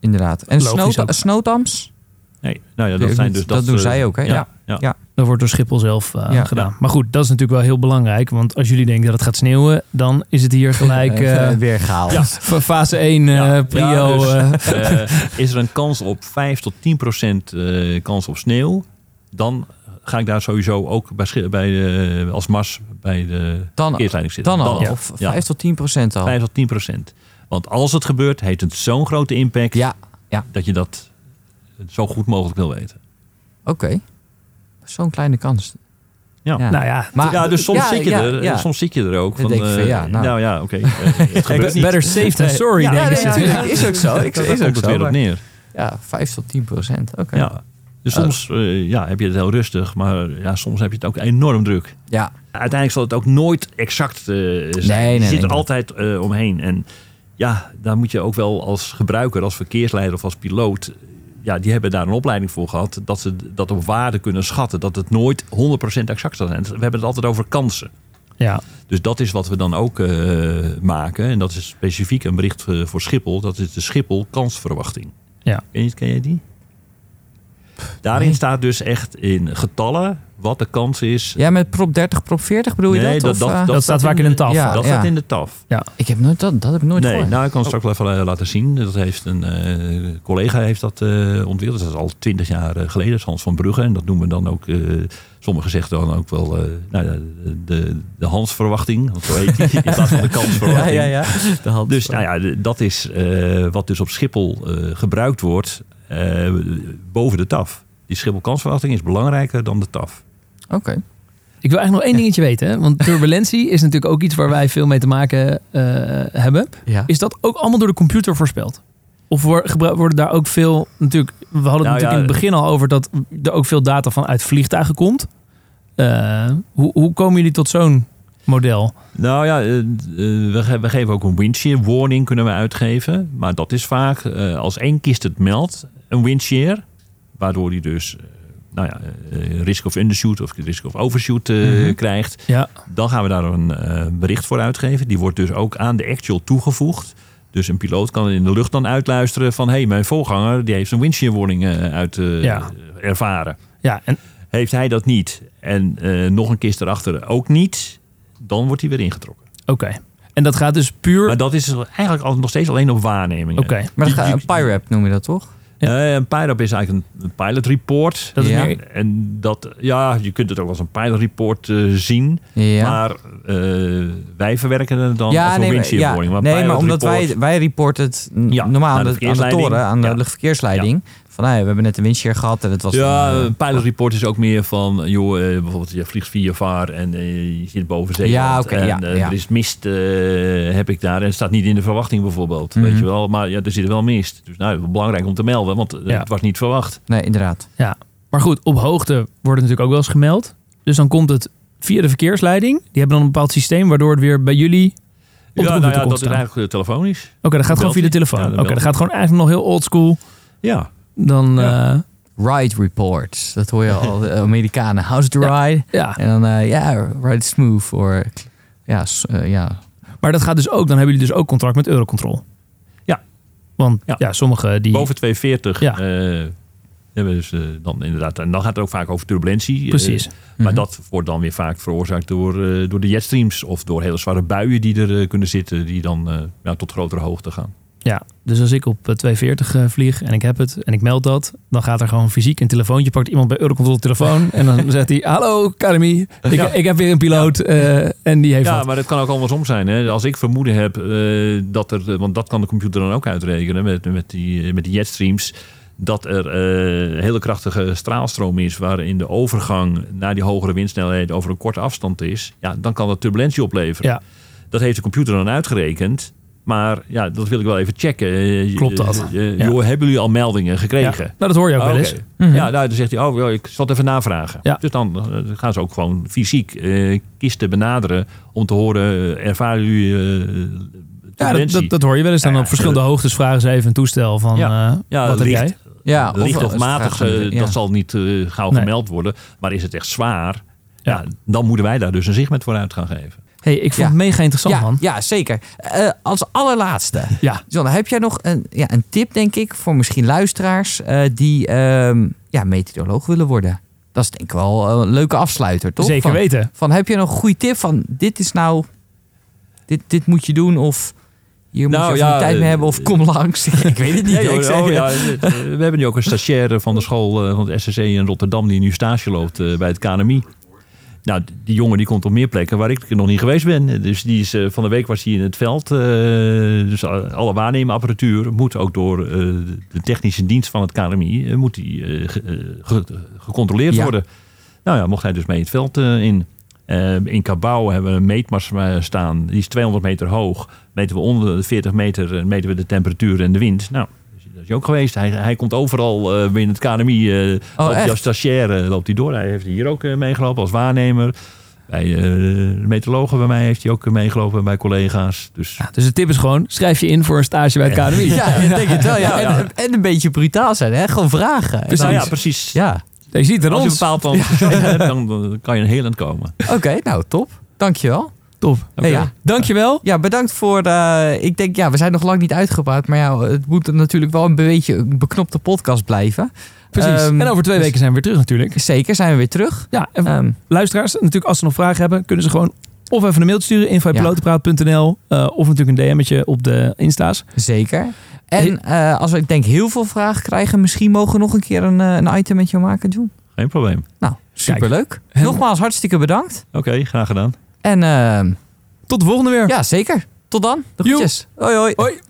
Speaker 4: Inderdaad. En
Speaker 3: Logisch
Speaker 4: snow,
Speaker 3: ook.
Speaker 4: snowdams?
Speaker 5: Nee, nou ja,
Speaker 4: Weet
Speaker 5: dat,
Speaker 4: ik
Speaker 5: zijn
Speaker 4: niet.
Speaker 5: dus,
Speaker 4: Dat doen
Speaker 5: eh,
Speaker 4: zij ook, hè? Ja.
Speaker 5: ja.
Speaker 4: Ja.
Speaker 3: Dat wordt door Schiphol zelf eh,
Speaker 4: Ja.
Speaker 3: gedaan. Maar goed, dat is natuurlijk wel heel belangrijk. Want als jullie denken dat het gaat sneeuwen, dan is het hier gelijk eh,
Speaker 4: weer gehaald.
Speaker 5: ja.
Speaker 3: fa- fase 1 eh,
Speaker 5: Ja.
Speaker 3: prio.
Speaker 5: Ja, dus,
Speaker 3: eh,
Speaker 5: eh, is er een kans op 5 tot 10 procent eh, kans op sneeuw, dan ga ik daar sowieso ook bij, schi- bij, eh, als mas bij de
Speaker 4: Dan-
Speaker 5: verkeersleiding zitten.
Speaker 4: Dan al.
Speaker 3: Ja.
Speaker 4: Of
Speaker 5: Ja.
Speaker 4: 5 tot 10 procent al.
Speaker 5: 5 tot 10 procent. Want als het gebeurt, heeft het zo'n grote impact
Speaker 4: Ja, ja.
Speaker 5: dat je dat zo goed mogelijk wil weten.
Speaker 4: Oké. Zo'n kleine kans.
Speaker 5: Ja.
Speaker 3: nou ja,
Speaker 4: Maar-
Speaker 5: ja, dus soms,
Speaker 4: ja,
Speaker 5: zit je
Speaker 4: ja,
Speaker 5: er,
Speaker 4: ja.
Speaker 5: soms zit je er ook.
Speaker 4: Dan
Speaker 5: Van,
Speaker 4: denk je van,
Speaker 5: eh,
Speaker 4: ja, nou.
Speaker 5: ja, oké. eh, het gebeurt niet.
Speaker 3: better safe than sorry,
Speaker 5: Ja,
Speaker 3: denken
Speaker 5: nee,
Speaker 3: ze.
Speaker 5: ja,
Speaker 3: natuurlijk.
Speaker 4: is ook zo. Ik,
Speaker 5: Daar komt het weer op neer.
Speaker 4: Ja, 5 tot 10 procent. Oké.
Speaker 5: Ja. Dus soms eh, ja, heb je het heel rustig, maar ja, soms heb je het ook enorm druk.
Speaker 4: Ja.
Speaker 5: Uiteindelijk zal het ook nooit exact eh, zijn.
Speaker 4: nee,
Speaker 5: je
Speaker 4: nee,
Speaker 5: zit er
Speaker 4: nee.
Speaker 5: altijd eh, omheen. En ja, daar moet je ook wel als gebruiker, als verkeersleider of als piloot... Ja, die hebben daar een opleiding voor gehad. Dat ze dat op waarde kunnen schatten. Dat het nooit 100% exact zal zijn. We hebben het altijd over kansen.
Speaker 3: Ja,
Speaker 5: Dus dat is wat we dan ook eh, maken. En dat is specifiek een bericht eh, voor Schiphol. Dat is de Schiphol kansverwachting.
Speaker 3: Ja.
Speaker 5: Ken, je, ken jij die? Daarin
Speaker 4: nee.
Speaker 5: staat dus echt in getallen wat de kans is.
Speaker 4: ja, met prop 30, prop 40 bedoel je dat? of, eh,
Speaker 3: dat staat vaak in een tafel.
Speaker 4: ja.
Speaker 5: dat staat in de TAF.
Speaker 4: Ik heb nooit dat, dat heb ik nooit
Speaker 5: Nee,
Speaker 4: gehoord.
Speaker 5: nou ik kan het straks wel even eh, laten zien. Dat heeft een eh, collega heeft dat eh, ontwikkeld. Dat is al twintig jaar eh, geleden. Dat is Hans van Brugge. En dat noemen we dan ook, eh, sommigen zeggen dan ook wel eh, nou, ja, de, de Hans-verwachting. Want zo heet die. In plaats van de kansverwachting.
Speaker 4: De hand.
Speaker 5: Dus nou ja, d- dat is eh, wat dus op Schiphol eh, gebruikt wordt eh, boven de TAF. Die Schiphol kansverwachting is belangrijker dan de TAF.
Speaker 4: eh, Oké.
Speaker 3: Ik wil eigenlijk nog één dingetje weten. hè, Want turbulentie is natuurlijk ook iets waar wij veel mee te maken eh, hebben.
Speaker 4: Ja.
Speaker 3: Is dat ook allemaal door de computer voorspeld? Of wor- gebru- worden daar ook veel... Natuurlijk, we hadden het
Speaker 5: Nou
Speaker 3: natuurlijk
Speaker 5: ja,
Speaker 3: in het begin al over dat er ook veel data van uit vliegtuigen komt. Eh, hoe, hoe komen jullie tot zo'n model?
Speaker 5: Nou ja, eh, eh, we, ge- we geven ook een windshear warning kunnen we uitgeven. Maar dat is vaak eh, als één kist het meldt, een windshear. Waardoor hij dus eh, nou ja, eh, risk of undershoot of risk of overshoot eh, krijgt.
Speaker 3: Ja,
Speaker 5: Dan gaan we daar een eh, bericht voor uitgeven. Die wordt dus ook aan de actual toegevoegd. Dus een piloot kan in de lucht dan uitluisteren van... hé, hey, mijn voorganger die heeft een windshear warning eh, uit eh,
Speaker 3: Ja.
Speaker 5: ervaren.
Speaker 3: ja en
Speaker 5: Heeft hij dat niet en eh, nog een kist erachter ook niet... dan wordt hij weer ingetrokken.
Speaker 3: oké. En dat gaat dus puur...
Speaker 5: Maar
Speaker 3: Oké,
Speaker 5: dat is eigenlijk al- nog steeds alleen op waarnemingen.
Speaker 4: Maar dat gaat, Pyrap noem je dat toch?
Speaker 5: Eh, een pilot is eigenlijk een, een pilot report.
Speaker 3: dat is
Speaker 4: Ja.
Speaker 3: meer...
Speaker 5: En dat, ja, je kunt het ook als een pilot report eh, zien.
Speaker 4: Ja.
Speaker 5: Maar eh, wij verwerken het dan als
Speaker 4: ja,
Speaker 5: een
Speaker 4: nee, maar,
Speaker 5: windshield
Speaker 4: ja.
Speaker 5: warning.
Speaker 4: nee,
Speaker 5: pilot
Speaker 4: maar omdat
Speaker 5: report-
Speaker 4: wij, wij reporten het n-
Speaker 5: Ja,
Speaker 4: normaal
Speaker 5: aan
Speaker 4: aan
Speaker 5: de
Speaker 4: de, aan de
Speaker 5: verkeersleiding.
Speaker 4: toren, aan de
Speaker 5: Ja.
Speaker 4: luchtverkeersleiding. Van hey, we hebben net een windshear gehad en het was...
Speaker 5: Ja,
Speaker 4: een, eh,
Speaker 5: een pilot report is ook meer van, joh, eh, bijvoorbeeld je vliegt via VAR en eh, je zit boven zee.
Speaker 4: Ja, oké,
Speaker 5: en
Speaker 4: ja,
Speaker 5: eh,
Speaker 4: ja.
Speaker 5: er is mist, eh, heb ik daar. En het staat niet in de verwachting bijvoorbeeld,
Speaker 4: Mhm.
Speaker 5: weet je wel. Maar ja, er zit wel mist. Dus nou, belangrijk om te melden, want eh,
Speaker 3: Ja.
Speaker 5: het was niet verwacht.
Speaker 4: nee, inderdaad.
Speaker 3: Ja, maar goed, op hoogte wordt het natuurlijk ook wel eens gemeld. Dus dan komt het via de verkeersleiding. Die hebben dan een bepaald systeem waardoor het weer bij jullie op de
Speaker 5: ja,
Speaker 3: computer
Speaker 5: nou ja,
Speaker 3: komt
Speaker 5: dat is
Speaker 3: staan. Oké,
Speaker 5: eigenlijk eh, telefonisch.
Speaker 3: dat gaat gewoon via de
Speaker 5: belt hij.
Speaker 3: telefoon.
Speaker 5: Ja, dan
Speaker 3: Oké,
Speaker 5: belt
Speaker 3: dat
Speaker 5: hij.
Speaker 3: gaat gewoon eigenlijk nog heel oldschool.
Speaker 5: Ja.
Speaker 3: Dan,
Speaker 5: Ja.
Speaker 3: eh,
Speaker 4: Ride reports, dat hoor je al, de Amerikanen. How's the
Speaker 3: Ja.
Speaker 4: ride?
Speaker 3: ja.
Speaker 4: En dan, eh, ja, ride it smooth. Or, ja, s- eh, ja.
Speaker 3: Maar dat gaat dus ook, dan hebben jullie dus ook contract met Eurocontrol.
Speaker 5: Ja.
Speaker 3: Want ja,
Speaker 5: Ja.
Speaker 3: sommigen die...
Speaker 5: Boven 240
Speaker 3: Ja.
Speaker 5: eh, hebben we dus eh, dan inderdaad. En dan gaat het ook vaak over turbulentie. eh,
Speaker 3: Precies. Mhm.
Speaker 5: Maar dat wordt dan weer vaak veroorzaakt door, eh, door de jetstreams of door hele zware buien die er eh, kunnen zitten, die dan eh, ja, tot grotere hoogte gaan.
Speaker 3: Ja, dus als ik op eh, 240 eh, vlieg en ik heb het en ik meld dat, dan gaat er gewoon fysiek een telefoontje, pakt iemand bij Eurocontrol de telefoon en dan zegt hij, hallo Academy, ik,
Speaker 5: Ja.
Speaker 3: ik heb weer een piloot eh, en die heeft
Speaker 5: Ja,
Speaker 3: wat."
Speaker 5: maar het kan ook andersom zijn. Hè. Als ik vermoeden heb eh, dat er, eh, want dat kan de computer dan ook uitrekenen met, met, die, eh, met die jetstreams, dat er eh, hele krachtige straalstroom is waarin de overgang naar die hogere windsnelheid over een korte afstand is, ja, dan kan dat turbulentie opleveren.
Speaker 3: Ja.
Speaker 5: Dat heeft de computer dan uitgerekend. Maar ja, dat wil ik wel even checken. Eh,
Speaker 3: Klopt dat?
Speaker 5: eh, eh,
Speaker 3: Ja.
Speaker 5: joh, hebben jullie al meldingen
Speaker 3: Ja.
Speaker 5: gekregen?
Speaker 3: Nou, dat hoor je ook
Speaker 5: Ah,
Speaker 3: wel
Speaker 5: oké.
Speaker 3: eens. Mhm.
Speaker 5: Ja, nou, dan zegt hij, oh, joh, ik zal het even navragen.
Speaker 3: Ja.
Speaker 5: Dus dan eh, gaan ze ook gewoon fysiek eh, kisten benaderen om te horen, eh, ervaren jullie eh,
Speaker 3: Ja, dat,
Speaker 5: turbulentie?
Speaker 3: dat, dat hoor je wel eens. Dan
Speaker 5: Ja,
Speaker 3: op verschillende hoogtes vragen ze even een toestel van
Speaker 5: Ja.
Speaker 3: eh,
Speaker 5: Ja,
Speaker 3: wat heb
Speaker 5: licht.
Speaker 3: jij?
Speaker 4: Ja,
Speaker 5: licht of matig, eh,
Speaker 4: ja.
Speaker 5: dat zal niet eh, gauw
Speaker 3: Nee.
Speaker 5: gemeld worden. Maar is het echt zwaar, ja.
Speaker 3: Ja.
Speaker 5: dan moeten wij daar dus een zichtmet voor uit gaan geven.
Speaker 3: hey, ik vond
Speaker 4: Ja.
Speaker 3: het mega interessant,
Speaker 4: ja,
Speaker 3: man.
Speaker 4: ja, zeker. Eh, als allerlaatste.
Speaker 3: Ja.
Speaker 4: John, heb jij nog een, ja, een tip, denk ik, voor misschien luisteraars eh, die ehm, ja, meteoroloog willen worden? Dat is denk ik wel eh, een leuke afsluiter, toch?
Speaker 3: Zeker
Speaker 4: Van-
Speaker 3: weten.
Speaker 4: Van, heb je nog een goede tip van dit is nou, dit, dit moet je doen of hier
Speaker 5: Nou,
Speaker 4: moet je even
Speaker 5: ja,
Speaker 4: tijd mee
Speaker 5: eh,
Speaker 4: hebben of kom langs. ik weet het niet.
Speaker 5: Nee,
Speaker 4: ik
Speaker 5: joh,
Speaker 4: zeg-
Speaker 5: oh, ja, eh, we hebben nu ook een stagiaire van de school eh, van het SCC in Rotterdam die nu stage loopt eh, bij het KNMI. Nou, d- die jongen die komt op meer plekken waar ik nog niet geweest ben. Dus die is, eh, van de week was hij in het veld. eh, dus a- alle waarnemenapparatuur moet ook door eh, de technische dienst van het KNMI eh, moet die, eh, ge- eh, ge- gecontroleerd
Speaker 4: Ja.
Speaker 5: worden. Nou ja, mocht hij dus mee het veld eh, in. Eh, in Cabau hebben we een meetmast eh, staan. Die is 200 meter hoog. Meten we onder de 40 meter eh, meten we de temperatuur en de wind. Nou, dat is hij ook geweest. Hij, hij komt overal eh, binnen het KNMI. eh loopt hij
Speaker 4: Oh, echt?
Speaker 5: als stagiaire eh, loopt hij door. Hij heeft hier ook eh, meegelopen als waarnemer. Bij eh, de meteorologen bij mij heeft hij ook eh, meegelopen. Bij collega's.
Speaker 4: Ah,
Speaker 5: Dus
Speaker 3: Dus de tip is gewoon, schrijf je in voor een stage bij het KNMI.
Speaker 4: Ja, ik denk het wel. Ja.
Speaker 5: Ja, ja.
Speaker 4: En, en een beetje brutaal zijn, hè? Gewoon vragen. En
Speaker 5: Nou
Speaker 4: dan-
Speaker 5: ja, precies.
Speaker 4: ja.
Speaker 3: Je ziet het aan
Speaker 5: Als je een
Speaker 3: ons.
Speaker 5: bepaald plan van station hebt, dan, dan kan je een heel eind komen.
Speaker 4: Oké, nou top. Dankjewel.
Speaker 3: Top.
Speaker 4: Hey, ja.
Speaker 3: Dankjewel.
Speaker 4: Ja, bedankt voor. eh, ik denk, ja, we zijn nog lang niet uitgepraat. Maar ja, het moet natuurlijk wel een beetje een beknopte podcast blijven.
Speaker 3: Precies.
Speaker 4: Ehm,
Speaker 3: en over twee
Speaker 4: dus-
Speaker 3: weken zijn we weer terug natuurlijk.
Speaker 4: Zeker zijn we weer terug.
Speaker 3: Ja, en
Speaker 4: Ehm,
Speaker 3: luisteraars, natuurlijk als ze nog vragen hebben, kunnen ze gewoon of even een mail sturen, info.pilotenpraat.nl eh, of natuurlijk een DM'tje op de Insta's.
Speaker 4: zeker. En eh, als we, ik denk, heel veel vragen krijgen, misschien mogen we nog een keer een, eh, een item met jou maken, Joen.
Speaker 5: Geen probleem.
Speaker 4: Nou, superleuk. Nogmaals, hartstikke bedankt.
Speaker 5: Oké, graag gedaan.
Speaker 4: En ehm,
Speaker 3: Tot de volgende weer.
Speaker 4: ja, zeker. Tot dan. De
Speaker 3: Joe.
Speaker 4: groetjes. Hoi, hoi.
Speaker 3: Hoi.